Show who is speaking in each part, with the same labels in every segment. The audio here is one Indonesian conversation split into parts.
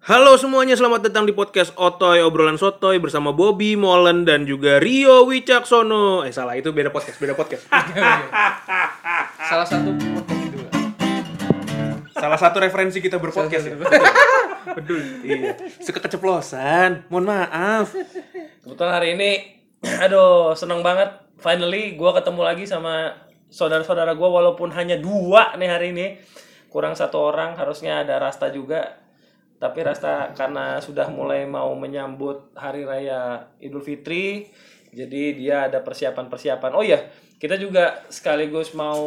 Speaker 1: Halo semuanya, selamat datang di podcast Otoy Obrolan Sotoy bersama Bobby Molen dan juga Rio Wicaksono. Eh salah, itu beda podcast, beda podcast.
Speaker 2: Salah satu podcast itu lah.
Speaker 1: salah satu referensi kita berpodcast. ya. Betul. Iya. Suka keceplosan. Mohon maaf.
Speaker 3: Kebetulan hari ini, aduh seneng banget. Finally gue ketemu lagi sama saudara-saudara gue walaupun hanya dua nih hari ini. Kurang satu orang, harusnya ada Rasta juga. Tapi Rasta karena sudah mulai mau menyambut Hari Raya Idul Fitri, jadi dia ada persiapan-persiapan. Oh iya, kita juga sekaligus mau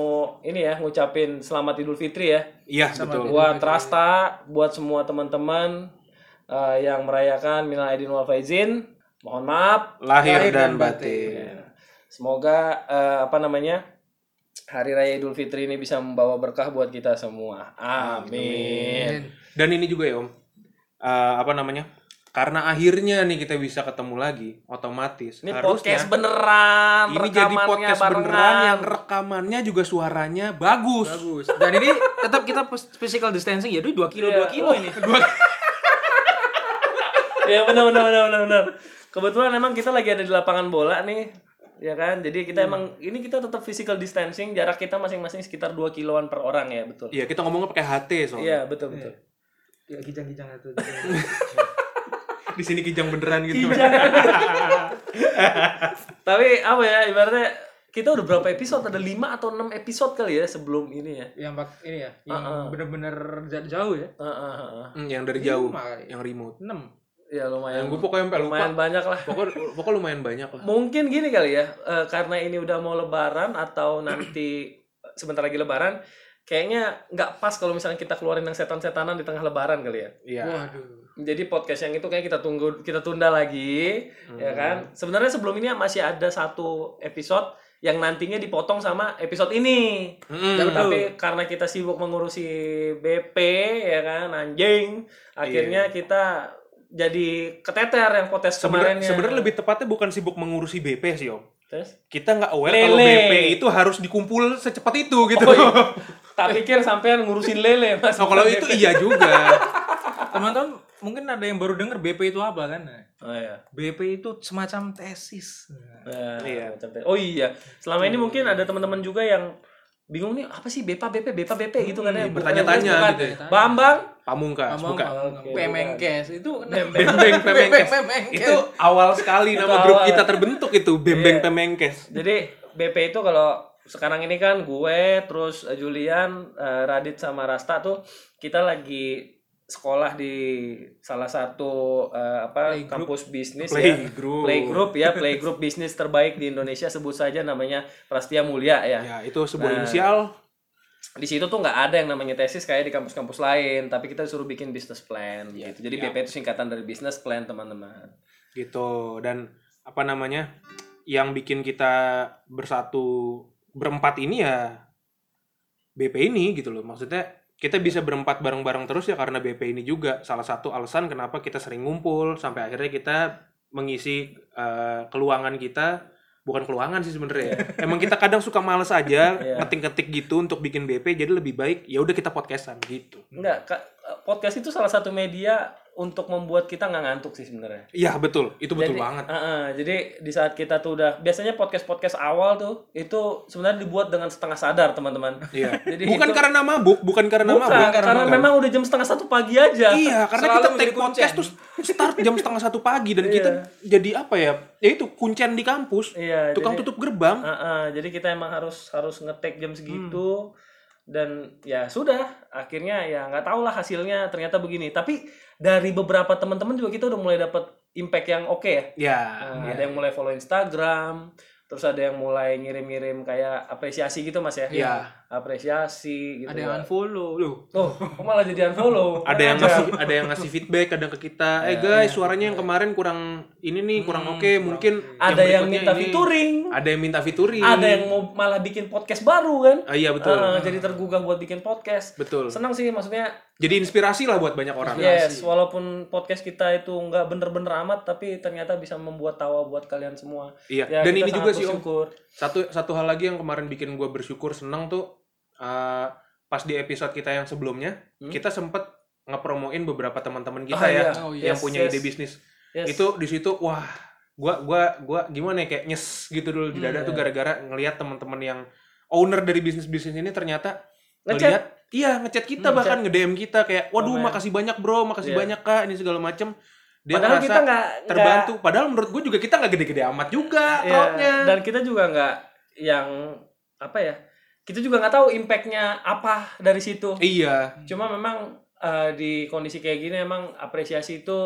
Speaker 3: ini ya ngucapin selamat Idul Fitri ya
Speaker 1: Iya, betul.
Speaker 3: buat Rasta, buat semua teman-teman eh, yang merayakan minal aidin wal faizin. Mohon maaf.
Speaker 1: Lahir dan batin.
Speaker 3: Semoga eh, apa namanya? Hari Raya Idul Fitri ini bisa membawa berkah buat kita semua. Amin.
Speaker 1: Dan ini juga ya Om, Eh, apa namanya? Karena akhirnya nih kita bisa ketemu lagi, otomatis.
Speaker 3: Ini
Speaker 1: Harusnya
Speaker 3: podcast beneran,
Speaker 1: ini jadi
Speaker 3: rekamannya
Speaker 1: podcast
Speaker 3: barengan.
Speaker 1: beneran yang rekamannya juga suaranya bagus.
Speaker 2: Bagus. Dan ini tetap kita pes- physical distancing ya, dulu 2 kilo,
Speaker 3: Iya.
Speaker 2: 2 kilo ini.
Speaker 3: Iya benar benar benar benar, benar. Kebetulan emang kita lagi ada di lapangan bola nih. Ya kan? Jadi
Speaker 1: Hmm.
Speaker 3: kita emang ini kita tetap physical distancing, jarak kita masing-masing sekitar 2 kiloan per orang ya, betul.
Speaker 1: Iya, kita ngomongnya pakai HT soalnya.
Speaker 3: Iya, betul betul.
Speaker 2: Ya kijang-kijang itu.
Speaker 1: Di sini kijang beneran gitu.
Speaker 3: Tapi apa ya ibaratnya kita udah berapa episode? Ada 5 atau 6 episode kali ya sebelum ini ya.
Speaker 2: yang bak ini ya, yang
Speaker 3: Ah, ah.
Speaker 2: bener-bener ja- jauh ya.
Speaker 3: Heeh, heeh, heeh.
Speaker 1: Hmm, yang dari jauh,
Speaker 2: Lima kali.
Speaker 1: yang remote.
Speaker 2: 6.
Speaker 3: Ya lumayan.
Speaker 1: Yang gue pokoknya sampai lupa.
Speaker 3: Iya, lumayan banyak lah.
Speaker 1: Pokoknya, pokoknya lumayan banyak lah.
Speaker 3: Mungkin gini kali ya, eh, karena ini udah mau lebaran atau nanti sebentar lagi lebaran, kayaknya nggak pas kalau misalnya kita keluarin yang setan-setanan di tengah lebaran kali ya.
Speaker 1: Iya.
Speaker 2: Waduh.
Speaker 3: Jadi podcast yang itu kayak kita tunggu, kita tunda lagi, ya
Speaker 1: Hmm.
Speaker 3: kan? Sebenarnya sebelum ini masih ada satu episode yang nantinya dipotong sama episode ini.
Speaker 1: Mm-mm.
Speaker 2: Tapi-
Speaker 3: Tapi karena kita sibuk mengurusi BP ya kan anjing,
Speaker 1: Iya.
Speaker 3: akhirnya kita jadi keteter yang potes
Speaker 1: Sebenarnya
Speaker 3: kemarin.
Speaker 1: sebenarnya lebih tepatnya bukan sibuk mengurusi BP sih, Om.
Speaker 3: Terus?
Speaker 1: Kita nggak aware kalau
Speaker 3: Lele.
Speaker 1: BP itu harus dikumpul secepat itu gitu.
Speaker 3: Oh, iya. tak pikir sampean ngurusin lele mas.
Speaker 1: Oh, kalau itu iya juga.
Speaker 2: Teman-teman mungkin ada yang baru denger BP itu apa kan? Nah,
Speaker 3: Oh iya.
Speaker 2: BP itu semacam tesis. Nah,
Speaker 3: Nah,
Speaker 1: Iya.
Speaker 3: macam te- Oh iya. Selama ini mungkin ada teman-teman juga yang bingung nih apa sih BPA BP BPA BP gitu kan ya. Bukan-
Speaker 1: Hmm, bertanya-tanya
Speaker 3: bukan.
Speaker 1: gitu ya.
Speaker 3: Bambang
Speaker 1: Pamungkas,
Speaker 2: Ngomong
Speaker 1: bukan.
Speaker 2: kalau
Speaker 3: Oke,
Speaker 2: Pemengkes itu
Speaker 1: Bembeng Pemengkes.
Speaker 2: Pemengkes.
Speaker 1: Itu awal sekali
Speaker 3: Itu
Speaker 1: nama grup
Speaker 3: awal.
Speaker 1: kita terbentuk itu, Bembeng
Speaker 3: Iya.
Speaker 1: Pemengkes.
Speaker 3: Jadi BP itu kalau sekarang ini kan gue terus eh, Julian, eh, Radit sama Rasta tuh kita lagi sekolah di salah satu eh, apa
Speaker 2: Playgroup.
Speaker 3: kampus bisnis ya.
Speaker 1: Playgroup.
Speaker 3: Playgroup ya, playgroup bisnis terbaik di Indonesia sebut saja namanya Prastia Mulia ya.
Speaker 1: Ya, itu sebuah
Speaker 3: Nah.
Speaker 1: inisial.
Speaker 3: Di situ tuh nggak ada yang namanya tesis kayak di kampus-kampus lain, tapi kita suruh bikin business plan gitu. Jadi
Speaker 1: iya.
Speaker 3: BP itu singkatan dari business plan, teman-teman.
Speaker 1: gitu dan apa namanya yang bikin kita bersatu berempat ini ya BP ini gitu loh maksudnya kita bisa berempat bareng-bareng terus ya karena BP ini juga salah satu alasan kenapa kita sering ngumpul sampai akhirnya kita mengisi eh, keluangan kita bukan keluangan sih sebenarnya ya. emang kita kadang suka males aja
Speaker 3: Iya.
Speaker 1: ngetik-ngetik gitu untuk bikin BP jadi lebih baik ya udah kita podcastan gitu
Speaker 3: Enggak, ka- eh, podcast itu salah satu media untuk membuat kita nggak ngantuk sih sebenarnya.
Speaker 1: iya betul itu betul
Speaker 3: jadi,
Speaker 1: banget
Speaker 3: Heeh, jadi di saat kita tuh udah biasanya podcast podcast awal tuh itu sebenarnya dibuat dengan setengah sadar teman-teman.
Speaker 1: Iya.
Speaker 3: Jadi
Speaker 1: bukan
Speaker 3: itu-
Speaker 1: karena mabuk bukan karena
Speaker 3: Bukan,
Speaker 1: mabuk
Speaker 3: karena,
Speaker 1: Bukan.
Speaker 3: memang udah jam setengah satu pagi aja.
Speaker 1: Iya, karena
Speaker 2: Selalu
Speaker 1: kita
Speaker 2: menjadi
Speaker 1: take podcast
Speaker 2: kuncen.
Speaker 1: terus start jam setengah satu pagi dan kita jadi apa ya? Ya itu kuncen di kampus,
Speaker 3: Iya,
Speaker 1: tukang
Speaker 3: jadi-
Speaker 1: tutup gerbang.
Speaker 3: Heeh, jadi kita emang harus harus
Speaker 1: Hmm.
Speaker 3: ngetek jam segitu dan ya sudah akhirnya ya nggak tahu lah hasilnya ternyata begini. Tapi dari beberapa teman-teman juga kita udah mulai dapat impact yang oke ya.
Speaker 1: Ya,
Speaker 3: Nah,
Speaker 1: ya.
Speaker 3: Ada yang mulai follow Instagram, terus ada yang mulai ngirim-ngirim kayak apresiasi gitu mas ya.
Speaker 1: Iya.
Speaker 3: Apresiasi gitu.
Speaker 2: ada yang unfollow loh.
Speaker 3: Tuh, kok malah jadi unfollow?
Speaker 1: ada yang
Speaker 3: Aja. Iya,
Speaker 1: ngasih ada yang ngasih feedback kadang ke kita. Eh guys, suaranya yang kemarin kurang ini nih, kurang oke, mungkin
Speaker 3: Hmm, ada yang
Speaker 1: berikutnya
Speaker 3: minta
Speaker 1: ini.
Speaker 3: featuring,
Speaker 1: Ada yang minta featuring.
Speaker 3: ada yang mau malah bikin podcast baru kan?
Speaker 1: Ah, iya betul.
Speaker 3: Ah, jadi tergugah buat bikin podcast.
Speaker 1: Betul.
Speaker 3: Senang sih maksudnya.
Speaker 1: Jadi inspirasi lah buat banyak orang.
Speaker 3: Yes, walaupun podcast kita itu nggak bener-bener amat, tapi ternyata bisa membuat tawa buat kalian semua.
Speaker 1: Iya.
Speaker 3: Ya,
Speaker 1: Dan
Speaker 3: kita
Speaker 1: ini juga
Speaker 3: sangat
Speaker 1: sih Om,
Speaker 3: bersyukur.
Speaker 1: satu satu hal lagi yang kemarin bikin gue bersyukur seneng tuh eh, pas di episode kita yang sebelumnya kita sempet ngepromoin beberapa teman-teman kita
Speaker 3: Hmm? Ah,
Speaker 1: ya
Speaker 3: iya.
Speaker 2: Oh,
Speaker 1: yang
Speaker 3: yes,
Speaker 1: punya ide
Speaker 3: yes.
Speaker 1: bisnis
Speaker 3: Yes.
Speaker 1: itu di situ wah gua gua gua gimana ya kayak nyes gitu dulu di
Speaker 3: Hmm,
Speaker 1: dada tuh
Speaker 3: iya.
Speaker 1: gara-gara ngelihat teman-teman yang owner dari bisnis bisnis ini ternyata
Speaker 3: Ngechat.
Speaker 1: ngelihat iya ngechat kita
Speaker 3: Hmm,
Speaker 1: bahkan nge-DM kita kayak waduh
Speaker 3: Komen.
Speaker 1: makasih banyak bro makasih
Speaker 3: Iya.
Speaker 1: banyak kak ini segala macem dia
Speaker 3: padahal
Speaker 1: ngerasa
Speaker 3: kita nggak nggak-
Speaker 1: terbantu padahal menurut gue juga kita nggak gede-gede amat juga
Speaker 3: Iya,
Speaker 1: crowdnya
Speaker 3: dan kita juga nggak yang apa ya kita juga nggak tahu impactnya apa dari situ
Speaker 1: iya
Speaker 2: Oh,
Speaker 3: cuma memang eh, di kondisi kayak gini emang apresiasi itu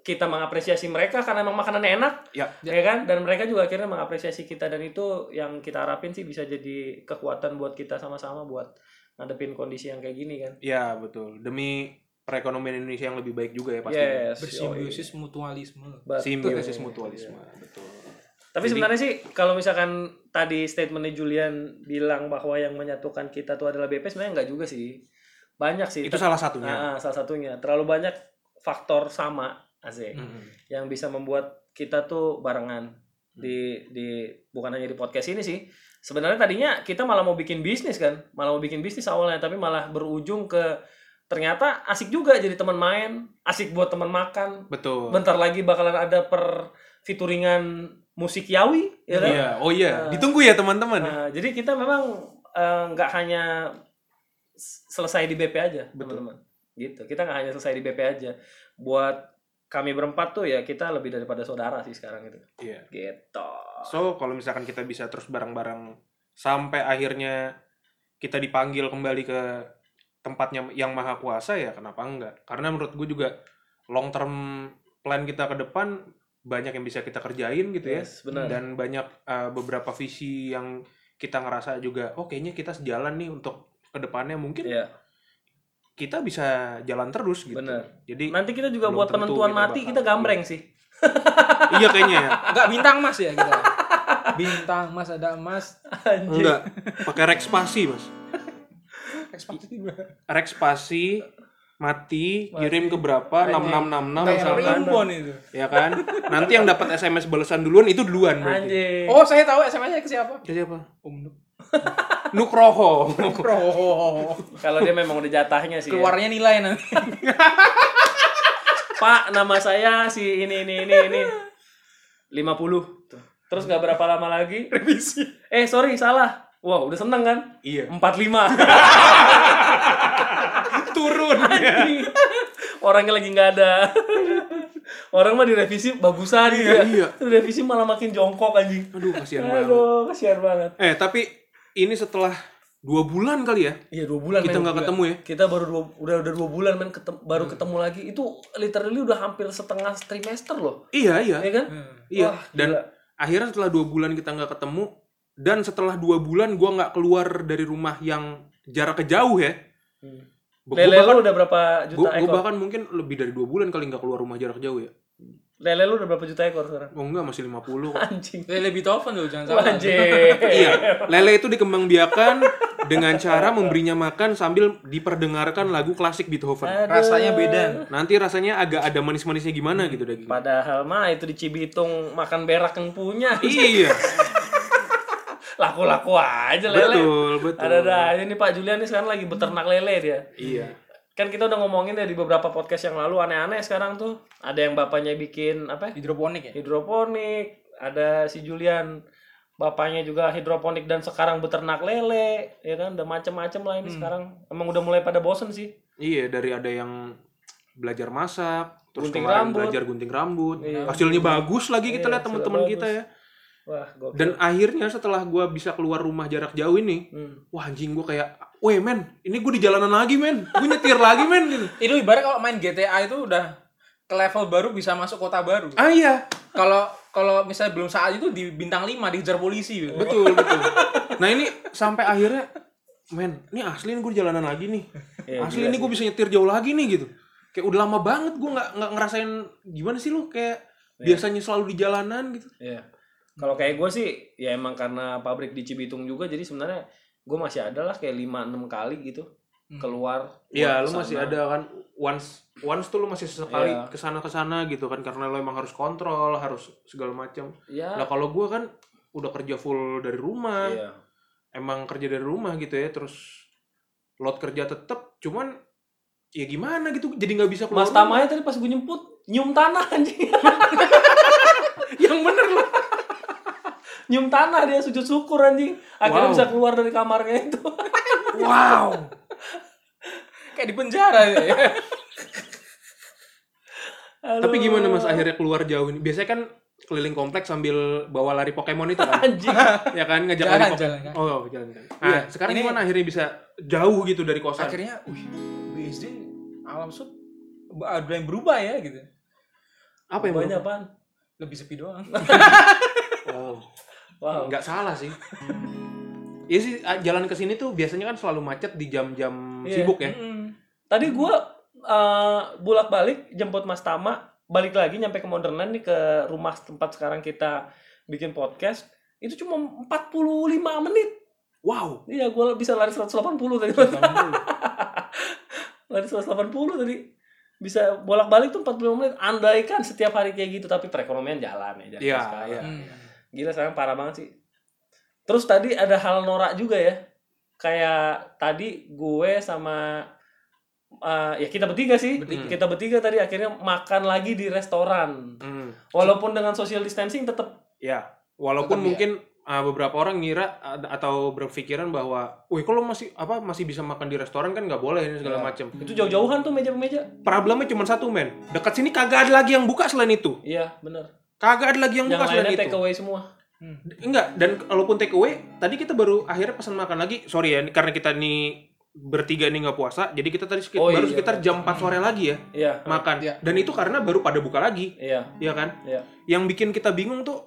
Speaker 3: kita mengapresiasi mereka karena emang makanannya enak
Speaker 1: Ya.
Speaker 3: ya kan dan mereka juga akhirnya mengapresiasi kita dan itu yang kita harapin sih bisa jadi kekuatan buat kita sama-sama buat ngadepin kondisi yang kayak gini kan
Speaker 1: iya betul demi perekonomian Indonesia yang lebih baik juga ya pasti
Speaker 2: iya.
Speaker 3: yes
Speaker 2: bersimbiosis mutualisme
Speaker 3: yoi.
Speaker 1: simbiosis
Speaker 3: Betul. Iya.
Speaker 1: mutualisme betul
Speaker 3: Tapi
Speaker 1: Jadi-
Speaker 3: sebenarnya sih kalau misalkan tadi statementnya Julian bilang bahwa yang menyatukan kita tuh adalah BP sebenarnya nggak juga sih. Banyak sih.
Speaker 1: itu salah satunya
Speaker 3: Nah, salah satunya. Terlalu banyak faktor sama Azek
Speaker 1: Mm-mm.
Speaker 3: yang bisa membuat kita tuh barengan di di bukan hanya di podcast ini sih. Sebenarnya tadinya kita malah mau bikin bisnis kan, malah mau bikin bisnis awalnya tapi malah berujung ke ternyata asik juga jadi teman main, asik buat teman makan,
Speaker 1: betul
Speaker 3: bentar lagi bakalan ada per fituringan musik Yawi ya kan?
Speaker 1: Iya, oh iya,
Speaker 3: Nah.
Speaker 1: ditunggu ya teman-teman.
Speaker 3: Nah, jadi kita memang eh, nggak hanya s- selesai di BP aja
Speaker 1: Betul.
Speaker 3: teman-teman gitu kita nggak hanya selesai di BP aja buat kami berempat tuh ya kita lebih daripada saudara sih sekarang itu
Speaker 1: Iya.
Speaker 3: gitu
Speaker 1: So, kalau misalkan kita bisa terus bareng-bareng sampai akhirnya kita dipanggil kembali ke tempatnya yang maha kuasa ya kenapa enggak? Karena menurut gue juga long term plan kita ke depan banyak yang bisa kita kerjain gitu ya.
Speaker 3: yes benar
Speaker 1: Dan banyak uh, beberapa visi yang kita ngerasa juga oh kayaknya kita sejalan nih untuk ke depannya mungkin
Speaker 3: Iya,
Speaker 1: kita bisa jalan terus gitu.
Speaker 3: Benar. Nah.
Speaker 1: Jadi
Speaker 3: nanti kita juga
Speaker 1: Belum
Speaker 3: buat
Speaker 1: tentu
Speaker 3: penentuan
Speaker 1: kita
Speaker 3: mati
Speaker 1: bakal-
Speaker 3: kita gambreng sih
Speaker 1: iya kayaknya ya.
Speaker 2: nggak bintang mas ya kita bintang mas ada mas
Speaker 3: Anjir.
Speaker 1: Enggak, pakai rekspasi, Mas.
Speaker 2: ekspektasi gue
Speaker 1: rekspasi mati,
Speaker 3: Mati.
Speaker 1: kirim ke berapa
Speaker 3: Tanya.
Speaker 1: 6666
Speaker 2: kayak
Speaker 1: misalkan
Speaker 2: primbon itu
Speaker 1: ya kan nanti yang dapat SMS balasan duluan itu duluan berarti
Speaker 3: anjing
Speaker 2: oh saya tahu sms nya ke siapa
Speaker 1: Itu siapa
Speaker 2: om Nuk.
Speaker 1: Nukroho
Speaker 2: Pro.
Speaker 3: kalau dia memang udah jatahnya sih ya.
Speaker 2: keluarnya nilai nanti
Speaker 3: Pak, nama saya si ini ini ini ini 50. Tuh. Terus nggak berapa lama lagi revisi. Eh, sorry, salah. Wah, udah seneng kan?
Speaker 1: iya
Speaker 3: 45.
Speaker 1: turun ya.
Speaker 3: Orangnya lagi nggak ada. Orang mah direvisi bagusan gitu ya.
Speaker 1: iya.
Speaker 3: Revisi malah makin jongkok anjing.
Speaker 1: aduh kasihan banget
Speaker 3: Aduh, kasihan banget.
Speaker 1: eh tapi ini setelah dua bulan kali ya
Speaker 3: Iya, dua bulan
Speaker 1: kita
Speaker 3: men.
Speaker 1: nggak Hmm. ketemu ya
Speaker 3: Kita baru dua, udah udah dua bulan men ketem- baru ketemu lagi. Itu literally udah hampir setengah trimester loh.
Speaker 1: iya iya
Speaker 3: Ya kan?
Speaker 2: Eh,
Speaker 1: iya
Speaker 3: Wah,
Speaker 1: dan
Speaker 3: gila.
Speaker 1: akhirnya setelah dua bulan kita nggak ketemu dan setelah dua bulan gua nggak keluar dari rumah yang jarak jauh ya
Speaker 3: Hmm.
Speaker 1: Gua
Speaker 3: Lele
Speaker 1: bahkan-
Speaker 3: lu udah berapa
Speaker 1: Gue
Speaker 3: juta ekor?
Speaker 1: bahkan mungkin lebih dari dua bulan kali nggak keluar rumah jarak jauh ya.
Speaker 3: Lele lu udah berapa juta ekor sekarang?
Speaker 1: Oh enggak masih 50 kok.
Speaker 3: Anjing.
Speaker 2: lebih Beethoven loh jangan salah
Speaker 3: Anjing.
Speaker 1: iya, lele itu dikembangbiakan dengan cara memberinya makan sambil diperdengarkan lagu klasik Beethoven.
Speaker 2: rasanya beda
Speaker 1: Nanti rasanya agak ada manis-manisnya gimana gitu daging.
Speaker 3: Padahal mah itu di Cibitung makan berak yang punya.
Speaker 1: Iya,
Speaker 3: Laku-laku aja lele.
Speaker 1: betul, betul.
Speaker 3: Ada-ada aja nih Pak Julian nih sekarang lagi beternak lele dia.
Speaker 1: Iya.
Speaker 3: Kan kita udah ngomongin ya di beberapa podcast yang lalu aneh-aneh sekarang tuh. Ada yang bapaknya bikin apa? ya,
Speaker 2: hidroponik ya
Speaker 3: Hidroponik, ada si Julian bapaknya juga hidroponik dan sekarang beternak lele, ya kan udah macem-macem lah
Speaker 1: Hmm.
Speaker 3: ini sekarang. Emang udah mulai pada bosen sih.
Speaker 1: Iya, dari ada yang belajar masak, terus
Speaker 3: Gunting
Speaker 1: kemarin
Speaker 3: rambut.
Speaker 1: belajar gunting rambut.
Speaker 3: Iya.
Speaker 1: Hasilnya bagus lagi kita
Speaker 3: Iya,
Speaker 1: lihat teman-teman
Speaker 3: hasilnya
Speaker 1: kita
Speaker 3: bagus.
Speaker 1: ya.
Speaker 3: Wah, gokil.
Speaker 1: Dan akhirnya setelah gua bisa keluar rumah jarak jauh ini,
Speaker 3: Hmm.
Speaker 1: wah anjing gue kayak weh men ini gue di jalanan lagi men gue nyetir lagi men gitu
Speaker 2: itu ibarat kalau main GTA itu udah ke level baru bisa masuk kota baru
Speaker 1: ah iya
Speaker 2: kalau kalau misalnya belum saat itu di bintang 5 dikejar polisi gitu.
Speaker 1: betul betul nah ini sampai akhirnya men ini asli nih gue di jalanan lagi nih
Speaker 3: Iya,
Speaker 1: asli
Speaker 3: gila
Speaker 1: ini gue bisa nyetir jauh lagi nih gitu kayak udah lama banget gue nggak nggak ngerasain gimana sih lu kayak biasanya selalu di jalanan gitu
Speaker 3: Iya. Kalau kayak gue sih, ya emang karena pabrik di Cibitung juga, jadi sebenarnya gue masih ada lah kayak 5-6 kali gitu
Speaker 2: Hmm.
Speaker 3: keluar.
Speaker 1: Iya,
Speaker 3: buat
Speaker 1: lu masih
Speaker 3: kesana.
Speaker 1: ada kan once once tuh lu masih sekali
Speaker 3: Iya.
Speaker 1: kesana kesana gitu kan karena lu emang harus kontrol harus segala macam.
Speaker 3: Iya.
Speaker 1: Nah kalau gue kan udah kerja full dari rumah,
Speaker 3: Iya.
Speaker 1: emang kerja dari rumah gitu ya terus load kerja tetep cuman ya gimana gitu jadi nggak bisa keluar
Speaker 3: Mas Tamanya tadi pas gue nyemput nyium tanah anjing.
Speaker 1: yang bener loh
Speaker 3: nyium tanah dia sujud syukur anjing.
Speaker 1: Wow.
Speaker 3: Akhirnya bisa keluar dari kamarnya itu.
Speaker 1: wow
Speaker 2: Kayak di penjara ya.
Speaker 3: Aduh.
Speaker 1: tapi gimana mas akhirnya keluar jauh ini biasanya kan keliling kompleks sambil bawa lari Pokemon itu kan
Speaker 3: Anjing.
Speaker 1: ya kan ngajak
Speaker 2: Jalan,
Speaker 1: lari Pokemon
Speaker 2: jalan, kan?
Speaker 1: oh jalan kan nah
Speaker 2: Iya,
Speaker 1: sekarang
Speaker 2: ini-
Speaker 1: gimana akhirnya bisa jauh gitu dari kosan
Speaker 2: Akhirnya, wih, BSD alam sud ada yang berubah ya gitu.
Speaker 1: apa yang
Speaker 3: Banyak
Speaker 1: banyak
Speaker 3: apaan?
Speaker 2: Lebih sepi doang.
Speaker 1: wow
Speaker 3: Wow.
Speaker 1: nggak salah sih Iya sih ah, jalan ke sini tuh biasanya kan selalu macet di jam-jam
Speaker 3: Iya.
Speaker 1: sibuk ya.
Speaker 2: Mm-mm.
Speaker 3: Tadi gue bolak-balik jemput Mas Tama, balik lagi nyampe ke Modernland nih ke rumah tempat sekarang kita bikin podcast. Itu cuma 45 menit.
Speaker 1: Wow.
Speaker 3: Iya, gue bisa lari 180 tadi. lari 180 tadi. Bisa bolak-balik tuh 45 menit. Andaikan setiap hari kayak gitu, tapi perekonomian jalan ya. jalan
Speaker 1: Iya,
Speaker 3: sekarang.
Speaker 1: iya.
Speaker 2: Mm.
Speaker 3: Gila sekarang parah banget sih. Terus tadi ada hal norak juga ya. Kayak tadi gue sama eh, ya kita bertiga sih.
Speaker 1: Bertiga.
Speaker 3: Kita bertiga tadi akhirnya makan lagi di restoran.
Speaker 1: Hmm.
Speaker 3: Walaupun dengan social distancing tetap
Speaker 1: Ya, walaupun
Speaker 2: Tetap ya.
Speaker 1: mungkin ah, beberapa orang ngira ad- atau berpikiran bahwa, "Wih, kalau masih apa masih bisa makan di restoran kan nggak boleh ini segala
Speaker 2: Iya.
Speaker 1: macem
Speaker 3: itu jauh-jauhan tuh meja-meja.
Speaker 1: Problemnya cuma satu, men. Dekat sini kagak ada lagi yang buka selain itu.
Speaker 3: Iya, bener
Speaker 1: Kagak ada lagi yang,
Speaker 3: Yang
Speaker 1: buka selain
Speaker 3: lainnya
Speaker 1: Kan itu.
Speaker 3: take away semua.
Speaker 1: Enggak, dan kalaupun take away, tadi kita baru akhirnya pesan makan lagi. Sorry ya, karena kita nih bertiga nih nggak puasa, jadi kita tadi sekit-
Speaker 3: Oh,
Speaker 1: baru
Speaker 3: iya.
Speaker 1: sekitar jam 4 sore lagi ya
Speaker 3: Iya.
Speaker 1: makan.
Speaker 2: Iya.
Speaker 1: Dan itu karena baru pada buka lagi,
Speaker 3: Iya.
Speaker 1: ya kan?
Speaker 3: Iya.
Speaker 1: Yang bikin kita bingung tuh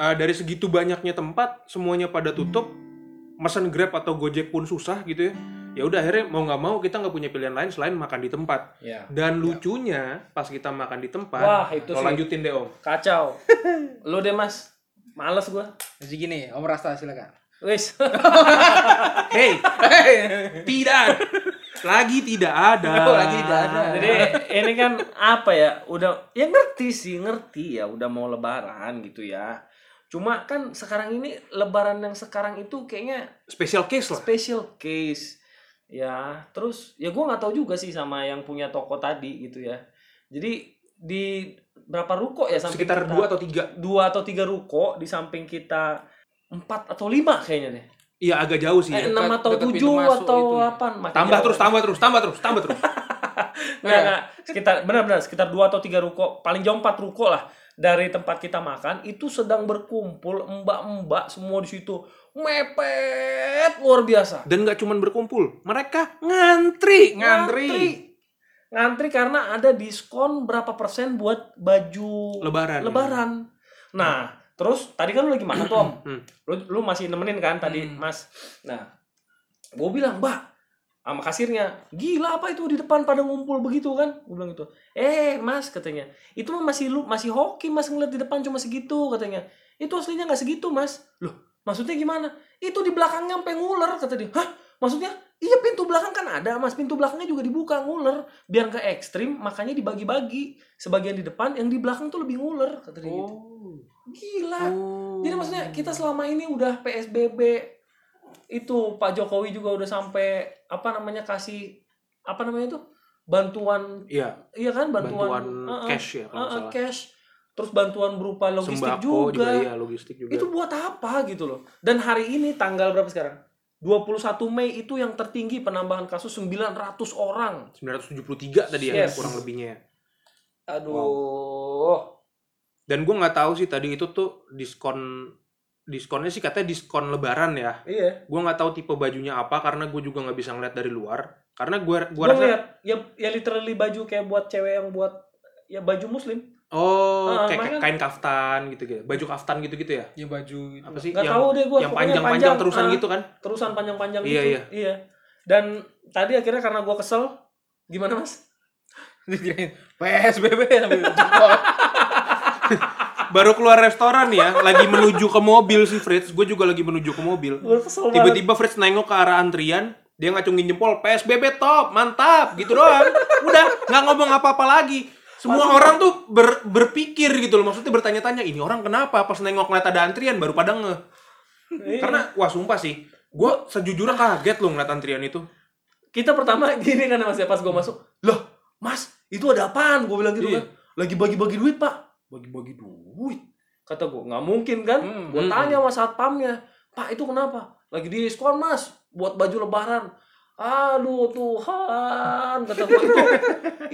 Speaker 1: eh, dari segitu banyaknya tempat, semuanya pada tutup, mesen Grab atau Gojek pun susah gitu ya. Ya udah akhirnya mau nggak mau kita nggak punya pilihan lain selain makan di tempat.
Speaker 3: Iya.
Speaker 1: Dan lucunya pas kita makan di tempat,
Speaker 3: Wah, itu
Speaker 1: lo
Speaker 3: sih
Speaker 1: lanjutin deh Om.
Speaker 3: kacau. Lu deh, Mas. Males gua.
Speaker 2: Jadi gini, Om Rasta silakan.
Speaker 3: Wis.
Speaker 1: Hey, tidak. Lagi tidak ada.
Speaker 2: Oh, lagi tidak ada.
Speaker 3: Jadi ini kan apa ya? Udah ya ngerti sih, ngerti ya udah mau lebaran gitu ya. Cuma kan sekarang ini lebaran yang sekarang itu kayaknya
Speaker 1: Special case lah.
Speaker 3: special case. Ya, terus ya gua nggak tahu juga sih sama yang punya toko tadi gitu ya. Jadi di berapa ruko ya sampai
Speaker 1: Sekitar
Speaker 3: kita-
Speaker 1: dua atau tiga.
Speaker 3: dua atau tiga ruko di samping kita empat atau lima kayaknya deh.
Speaker 1: Iya agak jauh sih.
Speaker 3: Eh, iya.
Speaker 1: ya.
Speaker 2: Dekat-
Speaker 3: enam atau
Speaker 2: dekat pintu
Speaker 3: tujuh
Speaker 2: masuk
Speaker 3: atau
Speaker 2: itu.
Speaker 3: delapan. Makin
Speaker 1: Tambah
Speaker 3: jauh.
Speaker 1: terus, tambah terus, tambah terus, tambah terus.
Speaker 3: Enggak, enggak. Sekitar benar-benar sekitar dua atau tiga ruko, paling jauh empat ruko lah dari tempat kita makan itu sedang berkumpul mbak-mbak semua di situ mepet luar biasa.
Speaker 1: Dan nggak cuman berkumpul, mereka ngantri, ngantri.
Speaker 3: Ngantri karena ada diskon berapa persen buat baju
Speaker 1: Lebaran.
Speaker 3: lebaran. Nah, terus tadi kan lu lagi makan tuh Om.
Speaker 1: Hmm.
Speaker 3: Lu, lu masih nemenin kan tadi
Speaker 2: Hmm.
Speaker 3: Mas. Nah, gue bilang, "Mbak, sama kasirnya, gila apa itu di depan pada ngumpul begitu kan?" Gue bilang gitu. "Eh, Mas," katanya. "Itu mah masih lu masih hoki Mas ngeliat di depan cuma segitu," katanya. "Itu aslinya nggak segitu, Mas." Loh, maksudnya gimana? Itu di belakangnya sampai nguler kata dia. "Hah? Maksudnya Iya pintu belakang kan ada mas, pintu belakangnya juga dibuka nguler biar nggak ekstrim, makanya dibagi-bagi sebagian di depan, yang di belakang tuh lebih nguler kata dia gitu.
Speaker 1: Oh.
Speaker 3: Gila.
Speaker 1: Oh.
Speaker 3: Jadi maksudnya kita selama ini udah PSBB itu Pak Jokowi juga udah sampai apa namanya kasih apa namanya itu bantuan
Speaker 1: Iya,
Speaker 3: iya kan bantuan,
Speaker 1: bantuan,
Speaker 3: eh, eh,
Speaker 1: cash ya
Speaker 3: eh,
Speaker 1: kalau
Speaker 3: eh,
Speaker 1: nggak salah.
Speaker 3: cash terus bantuan berupa logistik
Speaker 1: Sembako juga,
Speaker 3: juga.
Speaker 1: iya, logistik juga.
Speaker 3: Itu buat apa gitu loh. Dan hari ini tanggal berapa sekarang? 21 Mei itu yang tertinggi penambahan kasus 900 orang.
Speaker 1: 973 tadi ya
Speaker 3: Yes.
Speaker 1: kurang lebihnya. ya.
Speaker 3: Aduh.
Speaker 1: Dan gua nggak tahu sih tadi itu tuh diskon diskonnya sih katanya diskon lebaran ya.
Speaker 3: Iya.
Speaker 1: gue nggak tahu tipe bajunya apa karena gue juga nggak bisa ngeliat dari luar karena gue gue
Speaker 3: Gua
Speaker 1: rasa
Speaker 3: ngeliat ya ya literally baju kayak buat cewek yang buat ya baju muslim.
Speaker 1: oh
Speaker 3: Ah,
Speaker 1: kayak
Speaker 3: makanya-
Speaker 1: kain kaftan gitu gitu baju kaftan gitu gitu ya
Speaker 2: Ya baju itu.
Speaker 1: apa sih
Speaker 3: Gak
Speaker 1: yang
Speaker 3: tahu deh gue
Speaker 1: yang panjang-panjang terusan gitu kan
Speaker 3: Ah, terusan panjang-panjang
Speaker 1: Iya,
Speaker 3: gitu
Speaker 1: iya.
Speaker 3: dan tadi akhirnya karena gue kesel gimana mas
Speaker 2: Dikirain PSBB sambil jempol.
Speaker 1: baru keluar restoran ya lagi menuju ke mobil si Fritz gue juga lagi menuju ke mobil
Speaker 3: gue kesel banget
Speaker 1: tiba-tiba Fritz nengok ke arah antrian dia ngacungin jempol PSBB top mantap gitu doang udah nggak ngomong apa-apa lagi semua orang tuh ber- berpikir gitu loh maksudnya bertanya-tanya ini orang kenapa pas nengok ngeliat ada antrian baru pada ngeh
Speaker 3: Iya.
Speaker 1: Karena wah sumpah sih, gue sejujurnya kaget loh ngeliat antrian itu.
Speaker 3: kita pertama gini kan mas ya pas gue masuk loh mas itu ada apaan gue bilang gitu
Speaker 1: Iya.
Speaker 3: kan lagi bagi-bagi duit pak bagi-bagi duit kata gue nggak mungkin kan
Speaker 2: Hmm,
Speaker 3: gue
Speaker 1: hmm,
Speaker 3: tanya sama satpamnya pak itu kenapa lagi diskon mas buat baju lebaran aduh Tuhan kata gue itu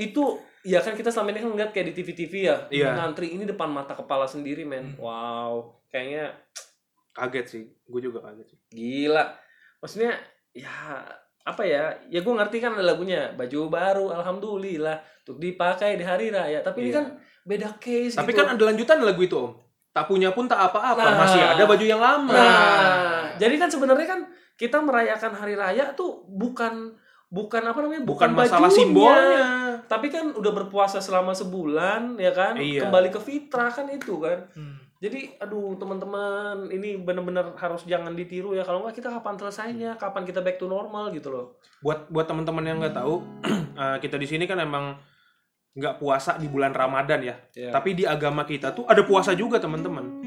Speaker 3: itu ya kan kita selama ini kan ngeliat kayak di TV-TV ya
Speaker 1: Iya. Hmm.
Speaker 3: ngantri ini depan mata kepala sendiri men wow kayaknya
Speaker 1: Kaget sih, gue juga kaget sih.
Speaker 3: Gila. Maksudnya ya apa ya? Ya gue ngerti kan ada lagunya baju baru alhamdulillah untuk dipakai di hari raya. Tapi ini
Speaker 1: Iya.
Speaker 3: kan beda case
Speaker 1: Tapi
Speaker 3: gitu.
Speaker 1: kan ada lanjutan lagu itu om. Tak punya pun tak apa-apa,
Speaker 3: Nah.
Speaker 1: masih ada baju yang lama.
Speaker 3: nah, jadi kan sebenarnya kan kita merayakan hari raya tuh bukan bukan apa namanya?
Speaker 1: Bukan masalah simbolnya.
Speaker 3: Tapi kan udah berpuasa selama sebulan ya kan?
Speaker 1: Iya.
Speaker 3: Kembali ke fitrah kan itu kan.
Speaker 1: Hmm.
Speaker 3: Jadi aduh teman-teman ini bener-bener harus jangan ditiru ya kalau nggak kita kapan selesainya? Kapan kita back to normal gitu loh.
Speaker 1: Buat buat teman-teman yang nggak tahu, eh, kita di sini kan emang nggak puasa di bulan Ramadan ya.
Speaker 2: Iya.
Speaker 1: Tapi di agama kita tuh ada puasa juga teman-teman.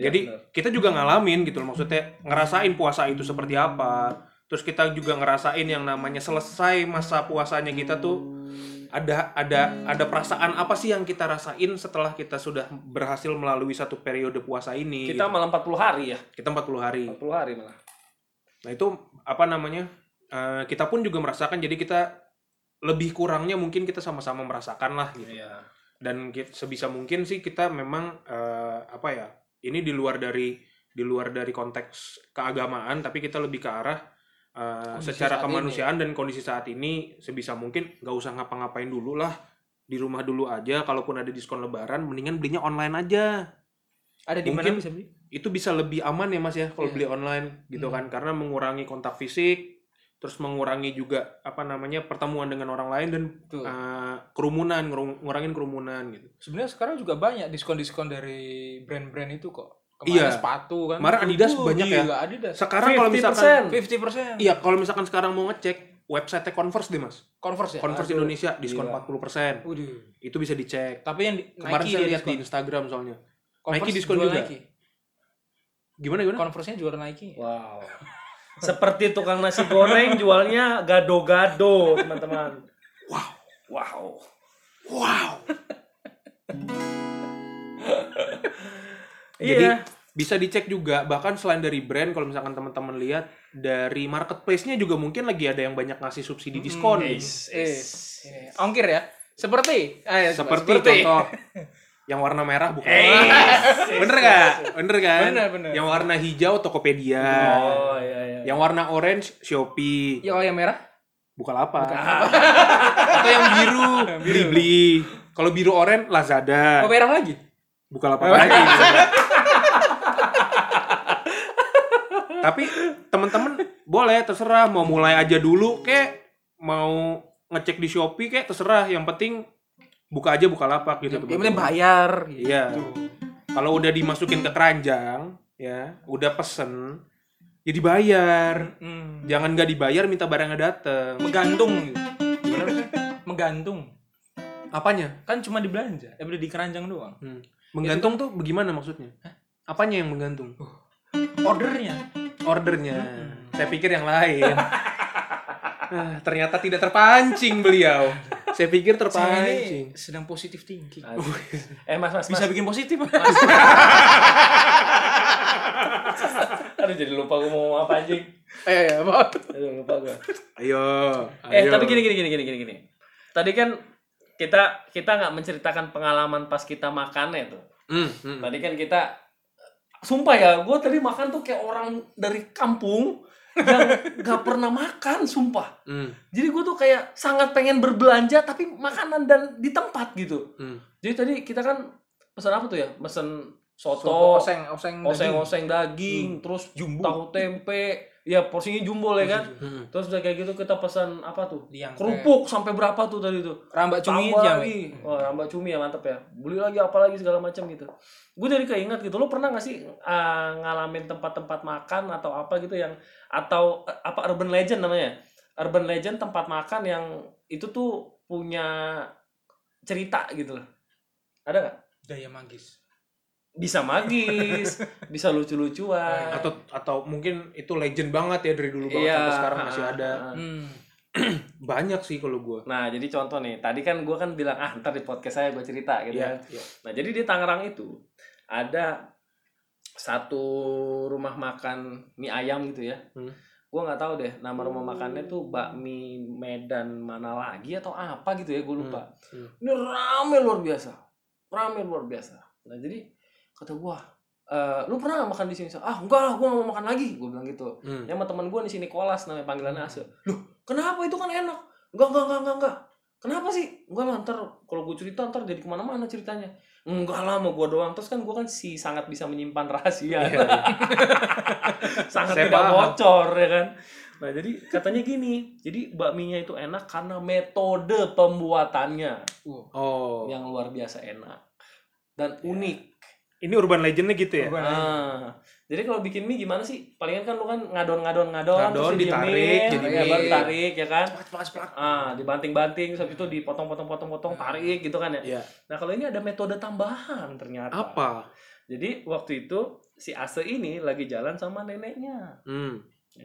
Speaker 2: Iya,
Speaker 1: Jadi
Speaker 2: benar.
Speaker 1: kita juga ngalamin gitu loh maksudnya ngerasain puasa itu seperti apa. Terus kita juga ngerasain yang namanya selesai masa puasanya kita tuh ada ada ada perasaan apa sih yang kita rasain setelah kita sudah berhasil melalui satu periode puasa ini? gitu.
Speaker 3: Kita malah 40 hari ya.
Speaker 1: kita 40 hari.
Speaker 3: 40 hari malah.
Speaker 1: Nah itu apa namanya? eh, kita pun juga merasakan. Jadi kita lebih kurangnya mungkin kita sama-sama merasakan lah gitu.
Speaker 2: Iya.
Speaker 1: Dan ki- sebisa mungkin sih kita memang eh, apa ya? Ini di luar dari di luar dari konteks keagamaan, tapi kita lebih ke arah eh,
Speaker 2: Kondisi
Speaker 1: secara
Speaker 2: saat
Speaker 1: kemanusiaan dan kondisi saat ini sebisa mungkin nggak usah ngapa-ngapain dulu lah di rumah dulu aja. Kalaupun ada diskon Lebaran, mendingan belinya online aja.
Speaker 2: Ada di mana
Speaker 1: Mungkin-
Speaker 2: bisa beli?
Speaker 1: itu bisa lebih aman ya mas ya kalau
Speaker 2: Iya.
Speaker 1: beli online gitu
Speaker 2: Hmm.
Speaker 1: kan karena mengurangi kontak fisik terus mengurangi juga apa namanya pertemuan dengan orang lain dan
Speaker 2: Betul.
Speaker 1: eh, kerumunan ngeru- ngurangin kerumunan gitu
Speaker 2: Sebenarnya sekarang juga banyak diskon-diskon dari brand-brand itu kok.
Speaker 1: Iya.
Speaker 2: Kemarin sepatu kan.
Speaker 1: Kemarin Adidas
Speaker 2: Waduh,
Speaker 1: banyak ya.
Speaker 2: gila, Adidas.
Speaker 1: sekarang kalau misalkan
Speaker 3: 50%.
Speaker 2: 50%.
Speaker 1: iya kalau misalkan sekarang mau ngecek website Converse deh mas
Speaker 2: Converse ya.
Speaker 1: Converse
Speaker 2: Aduh.
Speaker 1: Indonesia diskon
Speaker 2: gila.
Speaker 1: 40%
Speaker 2: Waduh.
Speaker 1: itu bisa dicek
Speaker 2: Tapi yang di,
Speaker 1: kemarin
Speaker 2: Nike
Speaker 1: saya
Speaker 2: dia
Speaker 1: lihat di
Speaker 2: ya, diskon.
Speaker 1: Instagram soalnya
Speaker 2: Converse
Speaker 1: Nike diskon
Speaker 2: jual
Speaker 1: juga.
Speaker 2: Nike.
Speaker 1: gimana gimana
Speaker 2: Converse-nya juara Nike.
Speaker 3: Wow. Seperti tukang nasi goreng jualnya gado-gado, teman-teman. Wow. Wow.
Speaker 1: wow Jadi,
Speaker 3: Iya.
Speaker 1: bisa dicek juga bahkan selain dari brand kalau misalkan teman-teman lihat dari marketplace-nya juga mungkin lagi ada yang banyak ngasih subsidi
Speaker 2: Hmm,
Speaker 1: diskon
Speaker 2: Eh, ini. Ongkir ya. Seperti
Speaker 1: Iya,
Speaker 2: eh,
Speaker 1: seperti, contoh yang warna merah bukan
Speaker 3: Eh,
Speaker 1: bener gak bener kan
Speaker 2: Bener, bener.
Speaker 1: yang warna hijau Tokopedia
Speaker 3: Oh, iya iya.
Speaker 1: yang warna orange Shopee
Speaker 2: Ya, kalau yang merah
Speaker 1: Bukalapak atau yang biru beli beli kalau biru orange
Speaker 2: mau
Speaker 1: Lazada
Speaker 2: merah lagi.
Speaker 1: Bukalapak lagi gitu. tapi teman-teman boleh terserah mau mulai aja dulu kek mau ngecek di Shopee kek terserah yang penting buka aja Bukalapak gitu
Speaker 2: Yang penting
Speaker 1: teman-teman.
Speaker 2: bayar gitu.
Speaker 1: Iya. Kalau udah dimasukin ke keranjang, ya, udah pesen, ya dibayar.
Speaker 2: Hmm.
Speaker 1: Jangan nggak dibayar minta barangnya dateng.
Speaker 2: Menggantung gitu. Menggantung.
Speaker 1: Apanya?
Speaker 2: Kan cuma dibelanja, eh beli di keranjang doang.
Speaker 1: Hmm. Menggantung tuh bagaimana maksudnya? Apanya yang menggantung?
Speaker 2: Ordernya.
Speaker 1: Ordernya. Saya pikir yang lain. Ah, ternyata tidak terpancing beliau. Saya pikir
Speaker 2: Saya
Speaker 1: terpancing.
Speaker 2: ini sedang positif thinking.
Speaker 3: Eh, Mas, Mas,
Speaker 2: Bisa
Speaker 3: Mas.
Speaker 2: bikin positif.
Speaker 3: Aduh, jadi lupa gue mau ngomong apa anjing.
Speaker 1: ya,
Speaker 2: eh, maaf.
Speaker 3: Aduh, lupa gue.
Speaker 1: Ayo.
Speaker 3: Eh,
Speaker 1: ayo.
Speaker 3: tapi gini gini gini gini gini gini. Tadi kan kita kita nggak menceritakan pengalaman pas kita makannya tuh.
Speaker 1: Hmm, hmm.
Speaker 3: Tadi kan kita sumpah ya, gue tadi makan tuh kayak orang dari kampung yang nggak pernah makan, sumpah.
Speaker 1: Hmm,
Speaker 3: Jadi gue tuh kayak sangat pengen berbelanja tapi makanan dan di tempat gitu.
Speaker 1: hmm.
Speaker 3: Jadi tadi kita kan pesan apa tuh ya? Pesan
Speaker 2: Soto
Speaker 3: soto,
Speaker 2: oseng, oseng, daging. Hmm.
Speaker 3: oseng-oseng daging, terus
Speaker 2: Jumbo.
Speaker 3: tahu tempe, ya porsinya jumbo ya kan.
Speaker 1: Hmm.
Speaker 3: Terus udah kayak gitu kita pesan apa tuh?
Speaker 2: Liang
Speaker 3: Kerupuk sampai berapa tuh tadi tuh?
Speaker 2: Rambak cumi
Speaker 3: tambah
Speaker 2: jam.
Speaker 3: lagi. Wah, tambah cumi ya mantep ya. Beli lagi apa lagi segala macam gitu. Gue jadi keinget gitu. Lo pernah gak sih eh, ngalamin tempat-tempat makan atau apa gitu yang atau eh, apa urban legend namanya? Urban legend tempat makan yang itu tuh punya cerita gitu loh. Ada nggak?
Speaker 2: Daya magis.
Speaker 3: Bisa magis, bisa lucu-lucuan. Iya,
Speaker 1: Iya. Atau atau mungkin itu legend banget ya dari dulu banget sampai sekarang masih ada.
Speaker 3: ah, ah.
Speaker 2: Hmm.
Speaker 1: banyak sih kalau gue
Speaker 3: Nah, jadi contoh nih, tadi kan gue kan bilang, ah ntar di podcast saya gue cerita gitu kan.
Speaker 1: Iya, iya.
Speaker 3: Nah, jadi di Tangerang itu ada satu rumah makan mie ayam gitu ya.
Speaker 1: Hmm.
Speaker 3: Gue nggak tahu deh nama rumah makannya tuh bakmi Medan mana lagi atau apa gitu ya, gue lupa.
Speaker 1: Hmm, hmm.
Speaker 3: Ini rame luar biasa. Rame luar biasa. Nah, jadi kata gue, "Eh, lu pernah nggak makan di sini? Sal?" Ah, enggak lah, gue nggak mau makan lagi. Gue bilang gitu.
Speaker 1: Hmm.
Speaker 3: Ya sama temen gue di sini kolas namanya panggilannya Asya. Loh, kenapa itu kan enak? Enggak, enggak, enggak, enggak, enggak. Kenapa sih? Enggak lah, ntar kalau gue cerita ntar jadi kemana-mana ceritanya. Enggak lah, mau gue doang. Terus kan gue kan si sangat bisa menyimpan
Speaker 1: Iya,
Speaker 3: rahasia.
Speaker 1: iya.
Speaker 3: sangat
Speaker 1: Saya
Speaker 3: tidak
Speaker 1: paham.
Speaker 3: bocor, ya kan? Nah, jadi katanya gini. Jadi bakminya itu enak karena metode pembuatannya
Speaker 1: oh
Speaker 3: yang luar biasa enak. Dan unik.
Speaker 1: ini urban legendnya gitu ya
Speaker 2: Urban.
Speaker 3: Ah, jadi kalau bikin mie gimana sih? Palingan kan lu kan ngadon ngadon ngadon,
Speaker 1: Ngadon, ditarik,
Speaker 3: jadi
Speaker 1: jadi
Speaker 3: ya,
Speaker 2: mie.
Speaker 3: baru tarik ya kan?
Speaker 2: Cepat, cepat, cepat.
Speaker 3: Ah, dibanting-banting, habis itu dipotong-potong-potong-potong, tarik gitu kan ya.
Speaker 1: Iya.
Speaker 3: Nah kalau ini ada metode tambahan ternyata.
Speaker 1: apa
Speaker 3: Jadi waktu itu si Ase ini lagi jalan sama neneknya,
Speaker 1: hmm.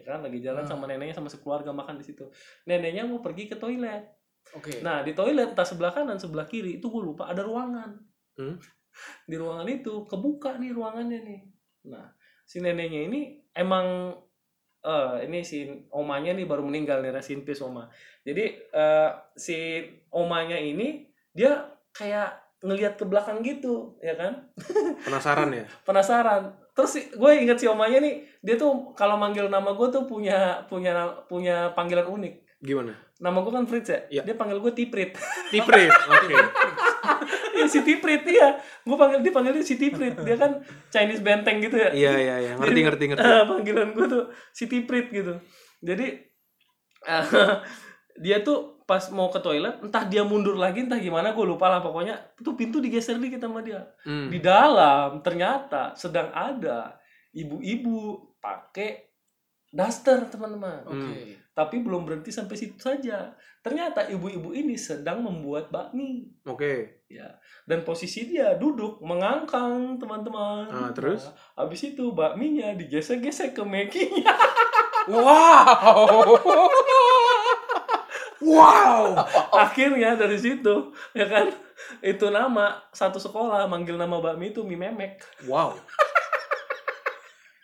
Speaker 3: ya kan? Lagi
Speaker 1: Nah.
Speaker 3: jalan
Speaker 2: Hmm.
Speaker 3: sama neneknya sama sekeluarga makan di situ. Neneknya mau pergi ke toilet.
Speaker 2: Oke.
Speaker 3: Nah di toilet entah sebelah kanan sebelah kiri itu gue lupa ada ruangan.
Speaker 1: Hmm.
Speaker 3: Di ruangan itu kebuka nih ruangannya nih. Nah si neneknya ini emang eh ini si omanya nih baru meninggal nih rest in peace oma. Jadi eh si omanya ini dia kayak ngelihat ke belakang gitu ya kan
Speaker 1: penasaran ya
Speaker 3: penasaran terus si- gue inget si omanya nih dia tuh kalau manggil nama gue tuh punya punya punya panggilan unik
Speaker 1: gimana
Speaker 3: nama gue kan Fritz ya
Speaker 1: Iya.
Speaker 3: dia panggil gue Tiprit
Speaker 1: tiprit oke
Speaker 3: Iya si Tiprit iya. Gue panggil dia panggilnya si Tiprit. Dia kan Chinese benteng gitu ya.
Speaker 1: iya iya iya ngerti ngerti ngerti
Speaker 3: Eh, panggilan gue tuh si Tiprit gitu. Jadi eh, dia tuh pas mau ke toilet entah dia mundur lagi entah gimana gue lupa lah pokoknya tuh pintu digeser dikit sama dia
Speaker 1: Hmm.
Speaker 3: di dalam ternyata sedang ada ibu-ibu pakai daster teman-teman
Speaker 2: Oke.
Speaker 3: tapi belum berhenti sampai situ saja ternyata ibu-ibu ini sedang membuat bakmi
Speaker 1: oke
Speaker 3: ya dan posisi dia duduk mengangkang teman-teman
Speaker 1: Ah, terus?
Speaker 3: Nah, abis itu bakminya digesek-gesek ke mekinya
Speaker 2: Wow. wow.
Speaker 1: Oh,
Speaker 3: akhirnya dari situ ya kan itu nama satu sekolah manggil nama bakmi itu mie memek
Speaker 1: wow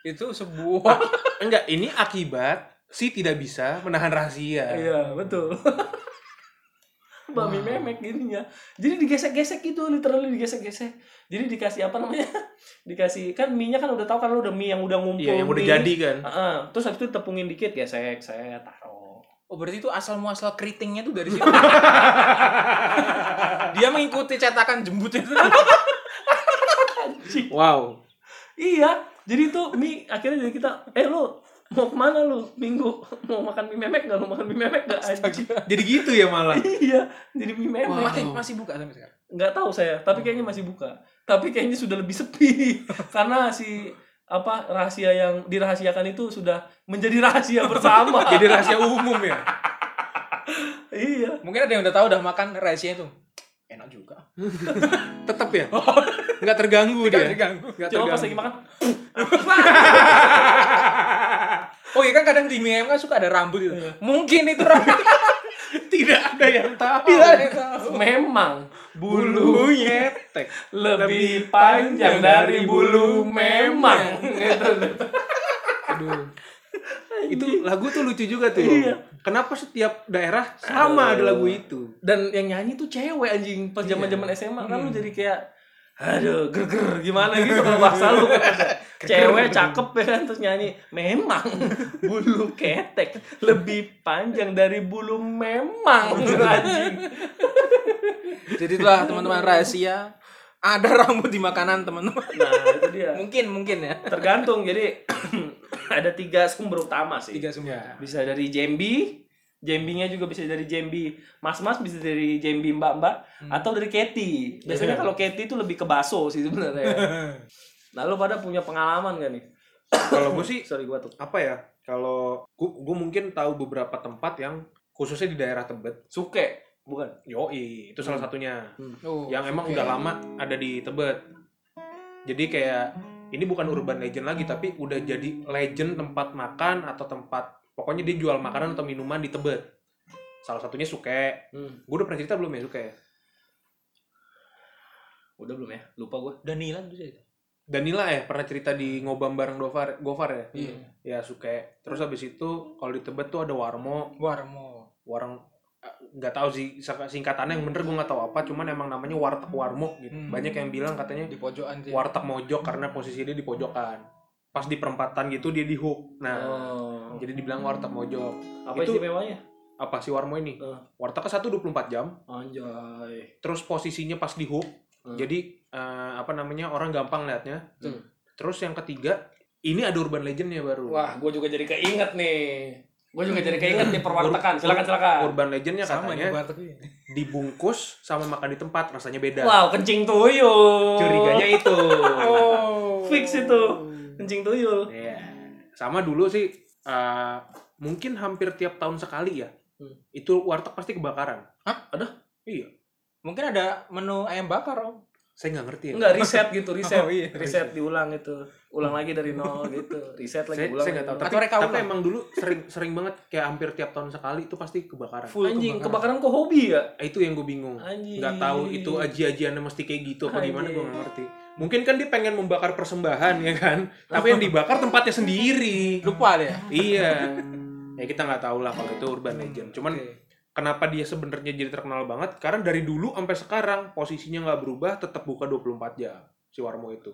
Speaker 2: Itu sebuah
Speaker 1: enggak ini akibat si tidak bisa menahan rahasia
Speaker 3: iya betul bakmi
Speaker 2: Wow.
Speaker 3: memek gininya jadi digesek-gesek gitu literally digesek-gesek jadi dikasih apa namanya dikasih kan mie nya kan udah tahu kan lu udah mie yang udah ngumpul
Speaker 1: iya yang udah
Speaker 3: nih.
Speaker 1: jadi kan
Speaker 3: Heeh. terus habis itu tepungin dikit gesek saya taruh
Speaker 2: Oh, berarti itu asal muasal keritingnya tuh dari situ. Dia mengikuti cetakan jembut itu.
Speaker 1: wow
Speaker 3: Iya, jadi itu mie akhirnya jadi kita, eh lu mau kemana lu minggu mau makan mie memek nggak lu makan mie memek nggak anjing
Speaker 1: jadi gitu ya malah
Speaker 3: iya jadi mie memek
Speaker 2: Masih masih buka sampai sekarang.
Speaker 3: nggak tahu saya tapi kayaknya masih buka tapi kayaknya sudah lebih sepi karena si apa rahasia yang dirahasiakan itu sudah menjadi rahasia bersama
Speaker 1: jadi rahasia umum ya
Speaker 3: iya
Speaker 2: Mungkin ada yang udah tahu udah makan rahasia itu. Enak juga.
Speaker 1: tetap ya nggak terganggu dia
Speaker 2: diganggu.
Speaker 1: nggak
Speaker 3: coba pas
Speaker 1: terganggu
Speaker 3: lagi makan
Speaker 2: Oh iya kan kadang di meme kan suka ada rambut itu.
Speaker 1: Iya.
Speaker 2: Mungkin itu rambut. Oh,
Speaker 1: tidak ada yang tahu
Speaker 2: Tidak ada yang tahu.
Speaker 3: memang bulu
Speaker 1: bulu nyetek
Speaker 3: lebih panjang dari bulu memang
Speaker 1: Aduh. itu lagu tuh lucu juga tuh
Speaker 2: Iya.
Speaker 1: kenapa setiap daerah sama ada lagu itu
Speaker 3: dan yang nyanyi tuh cewek anjing pas zaman zaman SMA kan lu jadi kayak aduh ger ger gimana gitu kalau bahasa lu cewek cakep ya kan terus nyanyi memang bulu ketek lebih panjang dari bulu memang anjing
Speaker 2: Jadi itulah teman-teman rahasia ada rambut di makanan teman-teman.
Speaker 3: nah itu
Speaker 1: Iya.
Speaker 3: dia
Speaker 2: Mungkin mungkin ya.
Speaker 3: tergantung jadi ada tiga sumber utama sih
Speaker 2: Tiga
Speaker 1: Iya.
Speaker 2: semua.
Speaker 3: bisa dari Jambi Jambinya juga bisa dari Jambi mas-mas bisa dari Jambi mbak-mbak atau dari Keti biasanya kalau Keti itu lebih ke baso sih sebenarnya nah lu pada punya pengalaman gak nih
Speaker 1: kalau gue sih
Speaker 3: sorry gua tuh
Speaker 1: apa ya kalau gue mungkin tahu beberapa tempat yang khususnya di daerah Tebet
Speaker 3: suke bukan
Speaker 1: yoi itu salah satunya
Speaker 2: Hmm. Oh,
Speaker 1: yang emang
Speaker 2: oke.
Speaker 1: udah lama ada di Tebet. Jadi kayak ini bukan urban legend lagi tapi udah jadi legend tempat makan atau tempat pokoknya dia jual makanan atau minuman di Tebet. Salah satunya Suke.
Speaker 3: Hmm.
Speaker 1: Gue udah pernah cerita belum ya Suke?
Speaker 3: Udah belum ya? Lupa gue. Danilan tuh cerita.
Speaker 1: Danila ya pernah cerita di ngobam bareng Dovar, Gofar ya?
Speaker 2: Iya.
Speaker 1: Ya Suke. Terus habis itu kalau di Tebet tuh ada Warmo,
Speaker 2: Warmo.
Speaker 1: warung eh, nggak tahu sih sak- singkatannya yang bener gue nggak tahu apa cuman emang namanya warteg warmo gitu
Speaker 2: Hmm.
Speaker 1: banyak yang bilang katanya
Speaker 2: Di pojokan sih.
Speaker 1: warteg mojok karena posisi dia di pojokan pas di perempatan gitu dia di hook nah
Speaker 3: Oh.
Speaker 1: jadi dibilang warteg mojok
Speaker 3: Apa
Speaker 1: itu-
Speaker 3: istimewanya?
Speaker 1: apa sih warmo ini
Speaker 3: Eh.
Speaker 1: wartegnya satu 24 jam
Speaker 3: Anjay.
Speaker 1: terus posisinya pas di hook
Speaker 3: Hmm.
Speaker 1: jadi eh, apa namanya orang gampang liatnya
Speaker 3: Hmm.
Speaker 1: terus yang ketiga ini ada urban legendnya baru
Speaker 3: Wah, gue juga jadi keinget nih. Gue juga jadi keinget nih perwartakan. Silakan silakan.
Speaker 1: urban legendnya
Speaker 2: Sama di
Speaker 1: katanya
Speaker 2: warteg ini.
Speaker 1: dibungkus sama makan di tempat rasanya beda
Speaker 3: Wow, kencing tuyul.
Speaker 1: curiganya itu
Speaker 3: Oh. Fix itu. Kencing tuyul.
Speaker 1: Iya. Sama dulu sih eh, mungkin hampir tiap tahun sekali ya.
Speaker 3: Hmm.
Speaker 1: Itu warteg pasti kebakaran. Iya.
Speaker 2: Mungkin ada menu ayam bakar om.
Speaker 1: Saya nggak ngerti ya.
Speaker 3: Enggak riset gitu, riset.
Speaker 2: Oh, iya.
Speaker 3: Riset diulang itu. Ulang lagi dari nol gitu. Riset
Speaker 1: Saya,
Speaker 3: lagi ulang.
Speaker 1: saya nggak tahu.
Speaker 2: Atau
Speaker 1: Tapi,
Speaker 2: reka
Speaker 1: tapi
Speaker 2: ulang.
Speaker 1: emang dulu sering sering banget kayak hampir tiap tahun sekali itu pasti kebakaran.
Speaker 2: Full
Speaker 3: Anjing, kebakaran kok hobi ya?
Speaker 1: Eh, Itu yang gue bingung.
Speaker 3: Anjing.
Speaker 1: Nggak tahu itu aji-ajiannya mesti kayak gitu apa gimana gue nggak
Speaker 3: Anjing.
Speaker 1: ngerti. Mungkin kan dia pengen membakar persembahan ya kan. Tapi yang dibakar tempatnya sendiri.
Speaker 2: Lupa deh.
Speaker 1: iya. Ya kita nggak tahu lah kalau itu urban legend. Cuman kenapa dia sebenarnya jadi terkenal banget karena dari dulu sampai sekarang posisinya nggak berubah tetap buka 24 jam si Warmo itu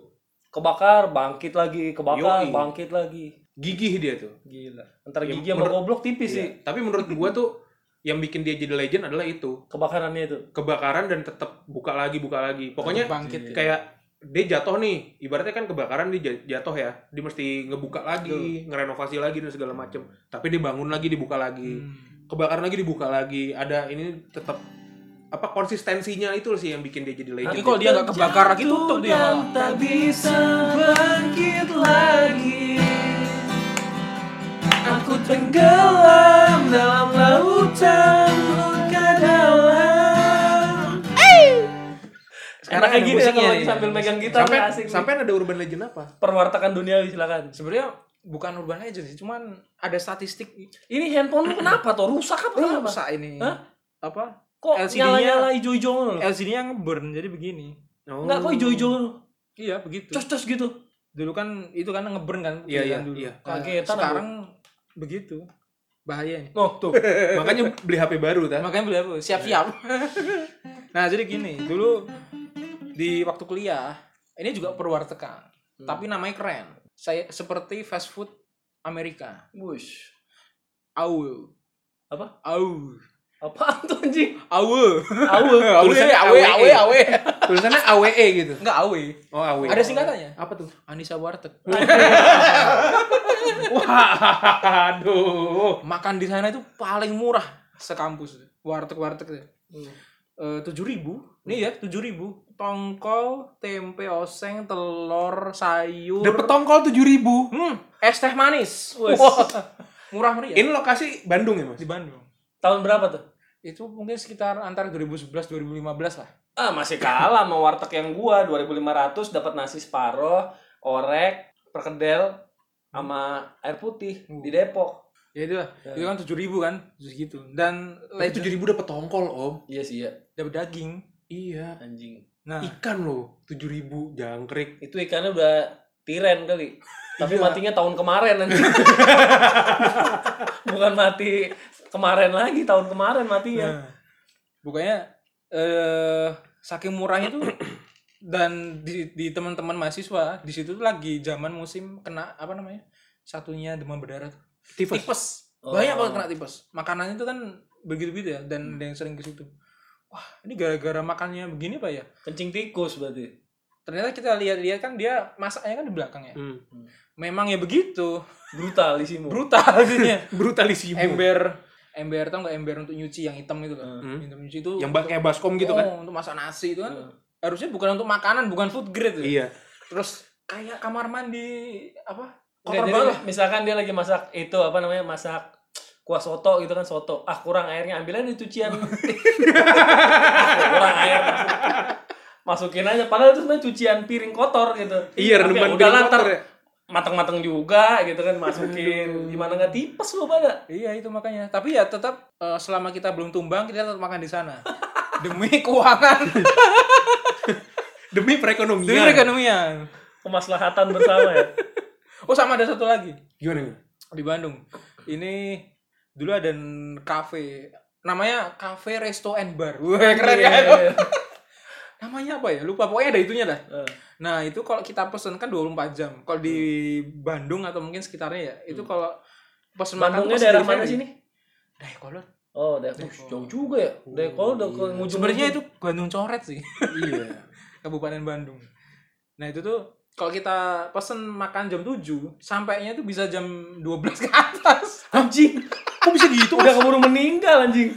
Speaker 3: Kebakar, bangkit lagi, kebakar,
Speaker 1: Yoi.
Speaker 3: bangkit lagi.
Speaker 1: gigih dia tuh
Speaker 3: Gila. Antara
Speaker 1: Ya,
Speaker 3: gigi sama
Speaker 1: menurut-
Speaker 3: goblok tipis sih
Speaker 1: Iya. tapi menurut gua tuh yang bikin dia jadi legend adalah itu
Speaker 3: kebakarannya itu.
Speaker 1: kebakaran dan tetap buka lagi buka lagi pokoknya
Speaker 2: bangkit.
Speaker 1: Iya. kayak dia jatuh nih ibaratnya kan kebakaran dia jat- jatuh ya dia mesti ngebuka lagi ngerenovasi lagi dan segala macem tapi dia bangun lagi dibuka lagi
Speaker 2: Hmm.
Speaker 1: kebakaran lagi dibuka lagi ada ini tetap apa konsistensinya itu sih yang bikin dia jadi
Speaker 2: Tapi
Speaker 1: legend
Speaker 2: kalau dia nggak kebakar lagi tutup dia.
Speaker 3: Dan tak bisa bangkit lagi Aku tenggelam dalam lautan luka dalam Sekarang
Speaker 2: Sekarang
Speaker 3: kayak
Speaker 2: ada
Speaker 3: gini ya
Speaker 2: musiknya
Speaker 3: kalau
Speaker 2: nih.
Speaker 3: sambil megang gitar
Speaker 1: sampai
Speaker 3: asik nih.
Speaker 1: sampai ada urban legend apa
Speaker 3: perwartakan dunia silakan.
Speaker 2: Sebenarnya bukan urban legend sih, cuman ada statistik
Speaker 3: Ini handphone lu kenapa tuh? Hmm. Rusak apa kenapa?
Speaker 2: rusak ini.
Speaker 3: Hah?
Speaker 2: Apa?
Speaker 3: Kok
Speaker 2: LCD-nya.
Speaker 3: nyala-nyala ijo-ijo lu?
Speaker 2: LCD-nya ngeburn jadi begini.
Speaker 3: Enggak
Speaker 1: Oh.
Speaker 3: kok ijo-ijo lu.
Speaker 2: Iya, begitu.
Speaker 3: Cos-cos gitu.
Speaker 2: dulu kan itu kan ngeburn kan
Speaker 1: Iya, iya,
Speaker 2: pilihan dulu.
Speaker 1: iya.
Speaker 2: Nah,
Speaker 3: Kagetan
Speaker 2: sekarang begitu bahayanya
Speaker 3: Oh, tuh.
Speaker 1: makanya beli HP baru ta
Speaker 2: makanya beli apa siap-siap nah jadi gini dulu di waktu kuliah ini juga perwartekan tapi namanya keren saya seperti fast food Amerika
Speaker 3: Bush.
Speaker 2: au
Speaker 3: Apa?
Speaker 2: au
Speaker 3: Apaan tuh anjing?
Speaker 2: au
Speaker 3: Awe.
Speaker 2: tulisannya awe awe awe
Speaker 1: tulisannya AWE gitu
Speaker 2: enggak awe
Speaker 1: oh AWE
Speaker 2: E. ada singkatannya
Speaker 1: apa tuh
Speaker 2: Anissa Warteg
Speaker 3: Hmm.
Speaker 1: wah aduh
Speaker 2: makan di sana itu paling murah sekampus warteg warteg tuh tujuh ribu nih ya tujuh ribu tongkol tempe oseng telur sayur
Speaker 1: dapat tongkol tujuh ribu
Speaker 2: hmm, es teh manis
Speaker 3: Wes.
Speaker 2: Wah, murah meriah
Speaker 1: ini lokasi Bandung ya mas
Speaker 2: di Bandung
Speaker 3: Tahun berapa tuh?
Speaker 2: itu mungkin sekitar antara 2011 2015 lah
Speaker 3: Ah, masih kalah sama warteg yang gua 2500 dapat nasi separoh, orek, perkedel sama air putih di Depok.
Speaker 2: ya itu lah
Speaker 3: Ya.
Speaker 2: itu kan tujuh ribu kan segitu dan eh,
Speaker 1: tujuh
Speaker 2: legend
Speaker 1: ribu dapat tongkol om
Speaker 3: Iya sih ya,
Speaker 2: dapat daging
Speaker 1: iya
Speaker 3: anjing.
Speaker 2: nah
Speaker 1: ikan loh tujuh ribu jangkrik
Speaker 3: Itu ikannya udah tiren kali. Tapi
Speaker 1: Iya.
Speaker 3: matinya tahun kemarin anjing. Bukan mati kemarin lagi, tahun kemarin
Speaker 1: Iya.
Speaker 3: matinya.
Speaker 2: Nah, pokoknya eh saking murahnya tuh dan di, di teman-teman mahasiswa di situ tuh lagi zaman musim kena apa namanya satunya demam berdarah tuh.
Speaker 1: tipes
Speaker 2: tipes
Speaker 3: Oh.
Speaker 2: banyak banget kena tipes makanannya tuh kan begitu begitu ya
Speaker 1: Hmm.
Speaker 2: dan ada yang sering ke situ wah ini gara-gara makannya begini pak ya
Speaker 3: Kencing tikus berarti.
Speaker 2: ternyata kita lihat-lihat kan dia masaknya kan di belakang ya
Speaker 1: hmm.
Speaker 2: memang ya begitu
Speaker 3: Brutal isimu.
Speaker 2: brutal jadinya
Speaker 1: brutalisimu
Speaker 2: ember ember tau nggak ember untuk nyuci yang hitam itu kan
Speaker 1: Hmm.
Speaker 2: Yang hitam nyuci itu
Speaker 1: yang ba- kayak baskom gitu kan
Speaker 2: Oh, untuk masak nasi itu kan
Speaker 3: Hmm.
Speaker 2: harusnya bukan untuk makanan bukan food grade ya.
Speaker 1: iya
Speaker 2: terus kayak kamar mandi apa
Speaker 3: Nggak,
Speaker 2: kotor
Speaker 3: jadi
Speaker 2: banget
Speaker 3: Misalkan dia lagi masak itu apa namanya masak kuah soto gitu kan soto. Ah kurang airnya ambil aja di cucian. kurang air. Masukin aja. Padahal itu sebenarnya cucian piring kotor gitu.
Speaker 1: iya
Speaker 3: Tapi ya
Speaker 1: reneman
Speaker 3: udah
Speaker 1: piring
Speaker 3: lantar.
Speaker 1: kotor ya
Speaker 3: matang-matang juga gitu kan masukin gimana nggak tipes lu pada
Speaker 2: Iya itu makanya. Tapi ya tetap eh, selama kita belum tumbang kita tetap makan di sana. Demi keuangan,
Speaker 1: demi
Speaker 2: demi
Speaker 1: perekonomian
Speaker 2: perekonomian.
Speaker 3: kemaslahatan bersama ya
Speaker 2: Oh sama ada satu lagi
Speaker 1: gimana gimana?
Speaker 2: di Bandung. Ini dulu ada n- cafe namanya cafe resto and bar. Wah, keren kan?
Speaker 3: Iya.
Speaker 2: Namanya apa ya? Lupa pokoknya ada itunya dah.
Speaker 3: Eh,
Speaker 2: Nah, itu kalau kita pesen kan 24 jam. Kalau di Bandung atau mungkin sekitarnya ya, itu kalau pesen makan
Speaker 3: Hmm. Bandungnya
Speaker 2: pesen
Speaker 3: daerah
Speaker 2: delivery.
Speaker 3: mana sih nih
Speaker 2: Dayakolot.
Speaker 3: oh daerah Ush, jauh juga ya dari kalau udah ke ujung
Speaker 2: Sebenarnya itu Bandung coret sih.
Speaker 1: iya
Speaker 2: Kabupaten Bandung. Nah, itu tuh kalau kita pesen makan jam 7, sampainya itu bisa jam 12 ke atas.
Speaker 3: anjing kok bisa gitu udah keburu meninggal anjing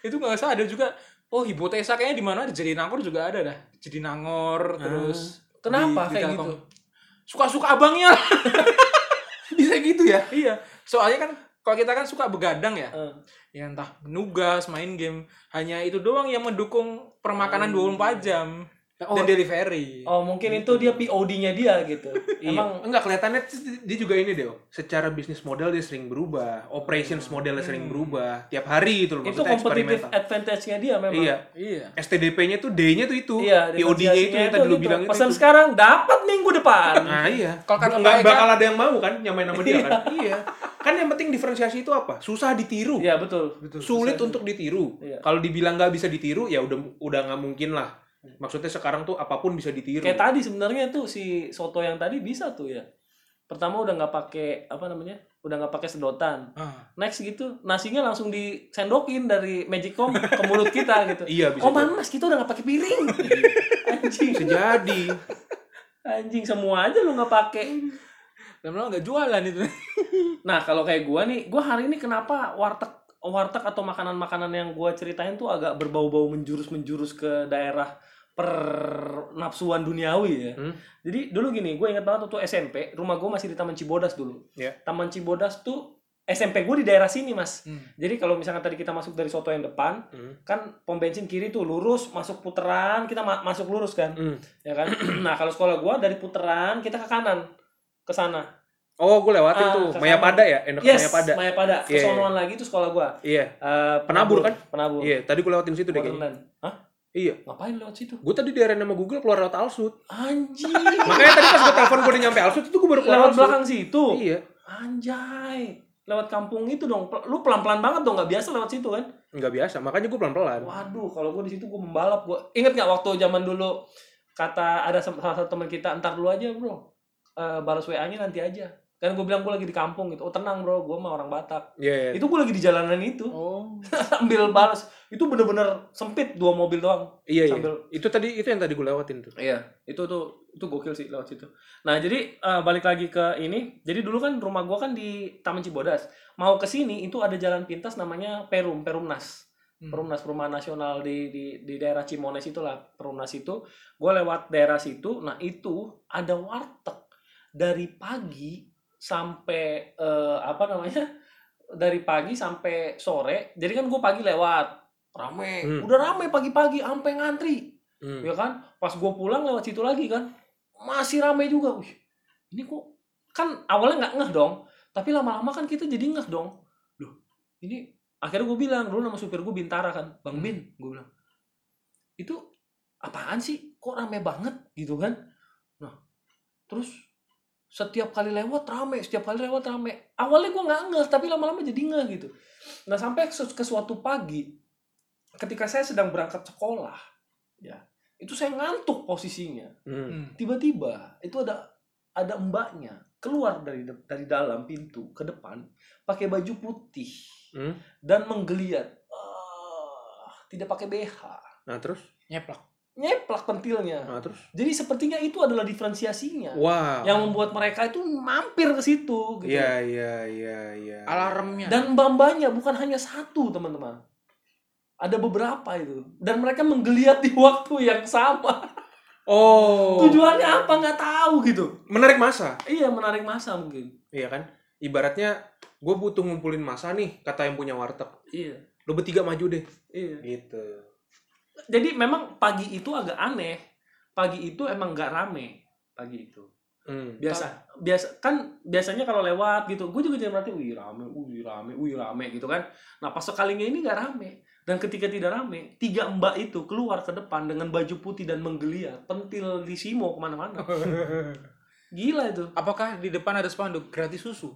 Speaker 2: Itu nggak usah ada juga oh hipotesa kayaknya di mana ada jadi nangor juga ada dah. Jadi nangor terus
Speaker 3: Kenapa
Speaker 2: Ah,
Speaker 3: kayak
Speaker 2: Telkom.
Speaker 3: gitu?
Speaker 2: Suka-suka abangnya. bisa gitu ya? Iya. Soalnya kan kalau kita kan suka begadang ya.
Speaker 3: Eh,
Speaker 2: Ya entah nugas, main game, hanya itu doang yang mendukung permakanan 24 jam dan delivery.
Speaker 3: oh mungkin itu dia POD-nya dia gitu
Speaker 1: Iya.
Speaker 3: emang
Speaker 1: Emang enggak kelihatannya t- dia juga ini deh. Secara bisnis model dia sering berubah, operations modelnya sering berubah tiap hari gitu loh
Speaker 3: Hmm. itu
Speaker 1: maksudnya
Speaker 3: competitive
Speaker 1: eksperimental.
Speaker 3: advantage-nya dia memang
Speaker 1: Iya.
Speaker 2: Iya.
Speaker 1: STDP-nya tuh D-nya tuh itu,
Speaker 3: Iya,
Speaker 1: POD-nya itu yang tadi lu bilang itu.
Speaker 3: gitu. Pesan
Speaker 1: itu.
Speaker 3: sekarang dapat minggu depan.
Speaker 1: Nah, iya.
Speaker 2: Kalau kata
Speaker 1: nggak
Speaker 2: mereka-
Speaker 1: bakal ada yang mau kan nyamain sama dia kan? iya. Kan yang penting diferensiasi itu apa? Susah ditiru.
Speaker 3: Iya, betul, betul.
Speaker 1: sulit untuk ditiru.
Speaker 3: Iya.
Speaker 1: Kalau dibilang nggak bisa ditiru ya udah udah nggak mungkin lah. Maksudnya sekarang tuh apapun bisa ditiru.
Speaker 3: Iya. Kayak tadi sebenarnya tuh si soto yang tadi bisa tuh ya. Pertama udah nggak pakai apa namanya? Udah nggak pakai sedotan.
Speaker 2: Ah.
Speaker 3: Next gitu, nasinya langsung disendokin dari Magicom ke mulut kita gitu.
Speaker 1: Iya, bisa
Speaker 3: Oh, mas, kita udah nggak pakai piring. anjing,
Speaker 1: Bisa jadi.
Speaker 3: anjing semua aja lu nggak pakai.
Speaker 2: Dan lo nggak jualan itu.
Speaker 3: Nah, kalau kayak gua nih, gua hari ini kenapa warteg warteg atau makanan-makanan yang gua ceritain tuh agak berbau-bau menjurus-menjurus ke daerah pernapsuan duniawi ya.
Speaker 1: Hmm.
Speaker 3: Jadi dulu gini, gue ingat banget waktu SMP, rumah gue masih di Taman Cibodas dulu.
Speaker 1: Iya.
Speaker 3: Taman Cibodas tuh SMP gue di daerah sini, Mas.
Speaker 2: Hmm.
Speaker 3: Jadi kalau misalnya tadi kita masuk dari soto yang depan,
Speaker 1: Hmm.
Speaker 3: kan pom bensin kiri tuh lurus, masuk puteran, kita ma- masuk lurus kan.
Speaker 1: Hmm.
Speaker 3: Ya kan? nah, kalau sekolah gua dari puteran kita ke kanan ke sana.
Speaker 1: Oh, gue lewatin
Speaker 3: Ah,
Speaker 1: tuh.
Speaker 3: kesana.
Speaker 1: Maya Pada ya, enak
Speaker 3: Yes,
Speaker 1: Maya Pada.
Speaker 3: Mayapada.
Speaker 1: Iya, iya.
Speaker 3: Kesonoan lagi tuh sekolah gua.
Speaker 1: Iya.
Speaker 3: Eh,
Speaker 1: Penabur kan?
Speaker 3: Penabur.
Speaker 1: Iya, tadi gue lewatin situ deh kayaknya.
Speaker 3: Wonderland. Hah?
Speaker 1: Iya.
Speaker 3: Ngapain lewat situ?
Speaker 1: Gue tadi diarahin sama Google keluar lewat Alsut.
Speaker 3: Anjing.
Speaker 1: Makanya tadi pas gue telepon gue udah nyampe Alsut itu gue baru keluar
Speaker 3: lewat
Speaker 1: Alsut.
Speaker 3: belakang situ.
Speaker 1: Iya.
Speaker 3: Anjay. Lewat kampung itu dong. Pel- Lu pelan-pelan banget dong, nggak biasa lewat situ kan?
Speaker 1: Enggak biasa, makanya gue pelan-pelan.
Speaker 3: Waduh, kalau gue di situ gue membalap gue. Ingat nggak waktu zaman dulu kata ada sem- salah satu teman kita, "Ntar dulu aja, Bro. Eh balas WA-nya nanti aja." Kan gue bilang gue lagi di kampung gitu. Oh, tenang, Bro. Gue mah orang Batak.
Speaker 1: Iya, iya.
Speaker 3: Itu gue lagi di jalanan itu.
Speaker 2: Oh.
Speaker 3: Sambil balas. Itu bener-bener sempit dua mobil doang.
Speaker 1: Iya, iya.
Speaker 3: Sambil-
Speaker 1: Itu tadi itu yang tadi gue lewatin tuh.
Speaker 3: Iya, itu tuh itu gokil sih lewat situ. Nah, jadi eh, balik lagi ke ini. Jadi dulu kan rumah gua kan di Taman Cibodas. Mau ke sini itu ada jalan pintas namanya Perum, Perumnas.
Speaker 2: Hmm.
Speaker 3: Perumnas perumahan nasional di di di daerah Cimones itulah, Perumnas itu. Gua lewat daerah situ. Nah, itu ada warteg dari pagi sampai eh, apa namanya? Dari pagi sampai sore. Jadi kan gue pagi lewat rame,
Speaker 1: Hmm.
Speaker 3: udah rame pagi-pagi sampai ngantri
Speaker 1: Hmm.
Speaker 3: ya kan pas gue pulang lewat situ lagi kan masih ramai juga Wih, ini kok kan awalnya nggak ngeh dong tapi lama-lama kan kita jadi ngeh dong loh ini akhirnya gue bilang dulu nama supir gue bintara kan bang bin gue bilang itu apaan sih kok rame banget gitu kan nah terus setiap kali lewat rame setiap kali lewat rame awalnya gue nggak ngeh tapi lama-lama jadi ngeh gitu nah sampai ke ke suatu pagi ketika saya sedang berangkat sekolah ya itu saya ngantuk posisinya
Speaker 1: Hmm.
Speaker 2: Hmm.
Speaker 3: tiba-tiba itu ada ada mbaknya keluar dari de- dari dalam pintu ke depan pakai baju putih
Speaker 1: Hmm.
Speaker 3: dan menggeliat Ah, tidak pakai BH
Speaker 1: Nah, terus?
Speaker 2: Nyeplak.
Speaker 3: nyeplak pentilnya
Speaker 1: Nah, terus?
Speaker 3: jadi sepertinya itu adalah diferensiasinya
Speaker 1: Wow.
Speaker 3: yang membuat mereka itu mampir ke situ gitu
Speaker 1: Iya, iya, iya, iya.
Speaker 2: Alarmnya.
Speaker 3: dan bambanya bukan hanya satu teman-teman ada beberapa itu dan mereka menggeliat di waktu yang sama
Speaker 1: Oh.
Speaker 3: tujuannya apa nggak tahu gitu
Speaker 1: Menarik masa.
Speaker 3: iya menarik masa mungkin
Speaker 1: Iya kan? Ibaratnya gue butuh ngumpulin masa nih, kata yang punya warteg.
Speaker 3: iya
Speaker 1: Lu bertiga maju deh.
Speaker 3: iya
Speaker 1: Gitu.
Speaker 3: jadi memang pagi itu agak aneh pagi itu emang nggak rame pagi itu
Speaker 1: Hmm.
Speaker 3: biasa biasa kan biasanya kalau lewat gitu gue juga jadi merhati wih rame wih rame wih rame gitu kan nah pas sekalinya ini nggak rame dan ketika tidak rame tiga mbak itu keluar ke depan dengan baju putih dan menggeliat pentil di simo kemana-mana gila itu
Speaker 2: Apakah di depan ada spanduk gratis susu?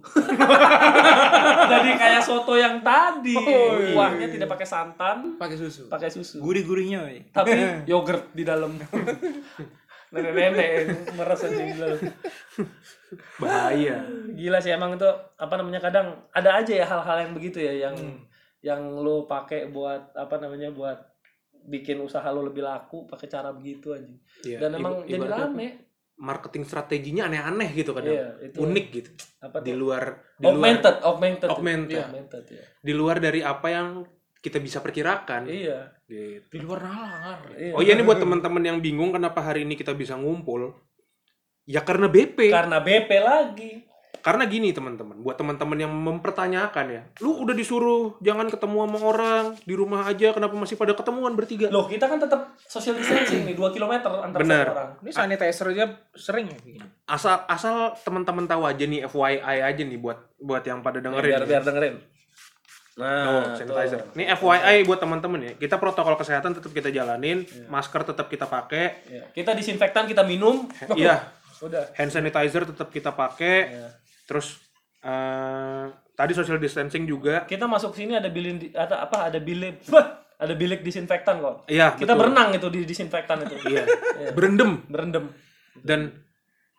Speaker 3: jadi kayak soto yang tadi
Speaker 2: Oh, iya.
Speaker 3: kuahnya tidak pakai santan
Speaker 2: Pakai susu.
Speaker 3: pakai susu
Speaker 2: Gurih-gurihnya, woy.
Speaker 3: tapi yogurt di dalam nenek-nenek meres aja di dalam
Speaker 1: Bahaya.
Speaker 3: gila sih emang itu apa namanya kadang ada aja ya hal-hal yang begitu ya yang
Speaker 1: Hmm.
Speaker 3: yang lo pakai buat apa namanya buat bikin usaha lo lebih laku pakai cara begitu aja
Speaker 1: Iya,
Speaker 3: dan emang
Speaker 1: iba-
Speaker 3: jadi
Speaker 1: ibaratnya
Speaker 3: rame
Speaker 1: marketing strateginya aneh-aneh gitu kadang.
Speaker 3: Iya, itu
Speaker 1: Unik gitu.
Speaker 3: apa
Speaker 1: Di
Speaker 3: tuh?
Speaker 1: luar di luar
Speaker 3: augmented augmented
Speaker 1: Augmented. Hmm.
Speaker 3: Iya, augmented ya.
Speaker 1: di luar dari apa yang kita bisa perkirakan.
Speaker 3: iya
Speaker 1: Gitu.
Speaker 2: Di luar nalar.
Speaker 3: iya.
Speaker 1: Oh iya ini buat teman-teman yang bingung kenapa hari ini kita bisa ngumpul. Ya karena BP.
Speaker 3: karena BP lagi
Speaker 1: Karena gini teman-teman, buat teman-teman yang mempertanyakan ya, lu udah disuruh jangan ketemu sama orang, di rumah aja kenapa masih pada ketemuan bertiga?
Speaker 3: loh kita kan tetap social distancing nih 2 km antar
Speaker 1: Bener.
Speaker 3: satu orang
Speaker 2: Ini sanitizer aja sering ya bikin.
Speaker 1: Asal asal teman-teman tahu aja nih FYI aja nih buat buat yang pada
Speaker 3: Nih,
Speaker 1: dengerin. ya.
Speaker 3: biar biar dengerin nah
Speaker 1: Oh,
Speaker 3: tuh.
Speaker 1: sanitizer. Ini FYI buat teman-teman ya. Kita protokol kesehatan tetap kita jalanin, masker tetap kita pakai.
Speaker 3: Iya. kita disinfektan kita minum
Speaker 1: Iya,
Speaker 3: udah
Speaker 1: hand sanitizer tetap kita
Speaker 3: Iya.
Speaker 1: pakai. Terus eh, tadi social distancing juga.
Speaker 3: kita masuk sini ada bilin di- ada apa ada bilik Wah, ada bilik disinfektan kok
Speaker 1: Iya,
Speaker 3: kita
Speaker 1: betul.
Speaker 3: berenang itu di disinfektan itu
Speaker 1: Iya. Berendam
Speaker 3: berendam
Speaker 1: dan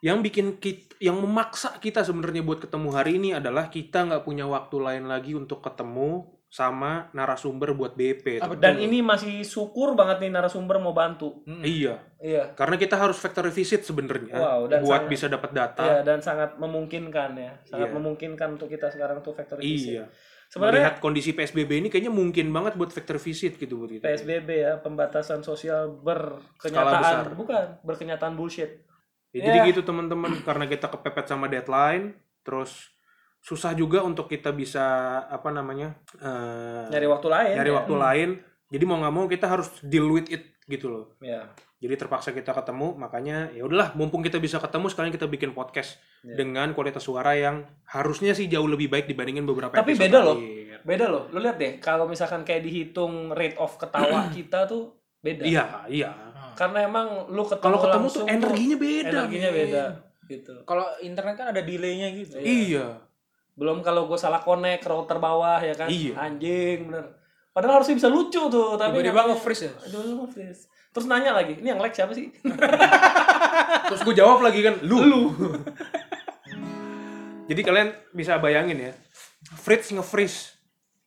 Speaker 1: yang bikin kita, yang memaksa kita sebenarnya buat ketemu hari ini adalah kita nggak punya waktu lain lagi untuk ketemu sama narasumber buat BP.
Speaker 2: Apa-
Speaker 3: dan ini masih syukur banget nih narasumber mau bantu
Speaker 2: Hmm.
Speaker 1: Iya,
Speaker 3: iya
Speaker 1: karena kita harus factory visit sebenarnya
Speaker 3: Wow, dan
Speaker 1: buat
Speaker 3: sangat-
Speaker 1: bisa dapat data.
Speaker 3: Iya, dan sangat memungkinkan ya sangat
Speaker 1: Ah. Iya.
Speaker 3: memungkinkan untuk kita sekarang tuh factory visit
Speaker 1: Iya.
Speaker 3: sebenarnya
Speaker 1: Melihat kondisi PSBB ini kayaknya mungkin banget buat factor visit gitu buat kita.
Speaker 3: PSBB ya pembatasan sosial
Speaker 1: besar.
Speaker 3: berkenyataan bukan berkenyataan bullshit
Speaker 1: Ya, Jadi
Speaker 3: Iya.
Speaker 1: gitu teman-teman karena kita kepepet sama deadline, terus susah juga untuk kita bisa apa namanya eh,
Speaker 3: nyari waktu lain
Speaker 1: nyari
Speaker 3: ya.
Speaker 1: waktu lain. Jadi mau nggak mau kita harus deal with it gitu loh.
Speaker 3: Iya.
Speaker 1: Jadi terpaksa kita ketemu, makanya ya udahlah, mumpung kita bisa ketemu sekalian kita bikin podcast
Speaker 3: Iya.
Speaker 1: dengan kualitas suara yang harusnya sih jauh lebih baik dibandingin beberapa
Speaker 3: Tapi
Speaker 1: episode
Speaker 3: beda loh.
Speaker 1: terakhir.
Speaker 3: beda loh lu lihat deh kalau misalkan kayak dihitung rate of ketawa kita tuh beda
Speaker 1: Iya, iya.
Speaker 3: karena emang lu ketemu
Speaker 1: Kalau ketemu tuh
Speaker 3: langsung
Speaker 1: energinya beda.
Speaker 3: energinya
Speaker 1: men.
Speaker 3: beda gitu
Speaker 2: Kalau internet kan ada delay-nya gitu.
Speaker 1: Iya.
Speaker 3: belum kalau gue salah connect router bawah ya kan
Speaker 1: Iya.
Speaker 3: anjing bener padahal harusnya bisa lucu tuh tapi
Speaker 2: Tiba-tiba
Speaker 3: namanya-
Speaker 2: nge-freeze ya?
Speaker 3: Aduh, nge-freeze. terus nanya lagi ini yang like siapa sih
Speaker 1: Terus gue jawab lagi kan, lu. Jadi kalian bisa bayangin ya, Fritz nge-freeze.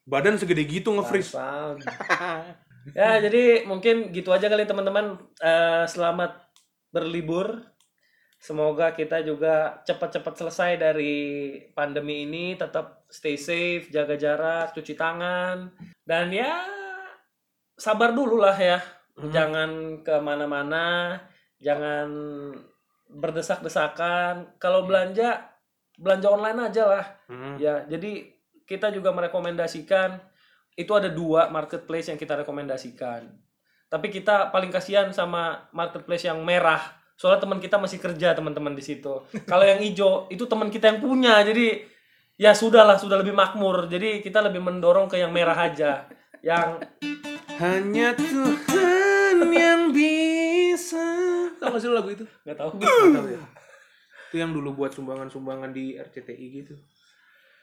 Speaker 1: Badan segede gitu nge-freeze.
Speaker 3: Bangsat. ya jadi mungkin gitu aja kali teman-teman Eh, selamat berlibur semoga kita juga cepat-cepat selesai dari pandemi ini tetap stay safe jaga jarak cuci tangan dan ya sabar dulu lah ya jangan kemana-mana jangan berdesak-desakan kalau belanja belanja online aja lah
Speaker 1: Hmm.
Speaker 3: Ya, jadi kita juga merekomendasikan itu ada dua marketplace yang kita rekomendasikan. Tapi kita paling kasihan sama marketplace yang merah. Soalnya teman kita masih kerja teman-teman di situ. Kalau yang hijau itu teman kita yang punya. Jadi ya sudahlah, sudah lebih makmur. Jadi kita lebih mendorong ke yang merah aja. Yang
Speaker 1: Hanya Tuhan yang bisa. Tahu gak sih lu lagu itu?
Speaker 3: nggak tahu.
Speaker 1: Tahu ya? Itu yang dulu buat sumbangan-sumbangan di RCTI gitu.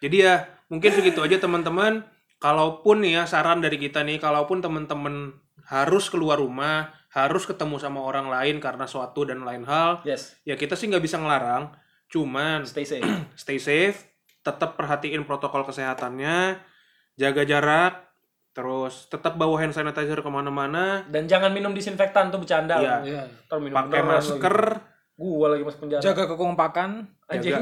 Speaker 1: Jadi ya mungkin segitu aja teman-teman. Kalaupun nih ya saran dari kita nih, kalaupun teman-teman harus keluar rumah, harus ketemu sama orang lain karena suatu dan lain hal,
Speaker 3: Yes,
Speaker 1: ya kita sih nggak bisa ngelarang. Cuman
Speaker 3: stay safe.
Speaker 1: stay safe, tetap perhatiin protokol kesehatannya, jaga jarak, terus tetap bawa hand sanitizer kemana-mana,
Speaker 3: Dan jangan minum disinfektan tuh bercanda.
Speaker 1: Iya.
Speaker 2: Iya.
Speaker 3: Ntar minum
Speaker 1: pakai
Speaker 3: beneran
Speaker 1: masker,
Speaker 3: lagi. Gua lagi masuk penjara.
Speaker 2: Jaga kekompakan.
Speaker 1: jaga,
Speaker 3: Anjing.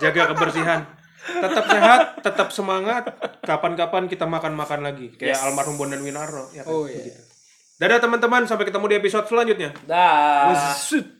Speaker 1: jaga kebersihan. Tetap sehat, tetap semangat. Kapan-kapan kita makan-makan lagi kayak
Speaker 3: Yes.
Speaker 1: almarhum Bondan Winarno. Ya kan?
Speaker 2: Oh iya.
Speaker 1: Dadah teman-teman, sampai ketemu di episode selanjutnya.
Speaker 3: Dah.
Speaker 1: Wassut.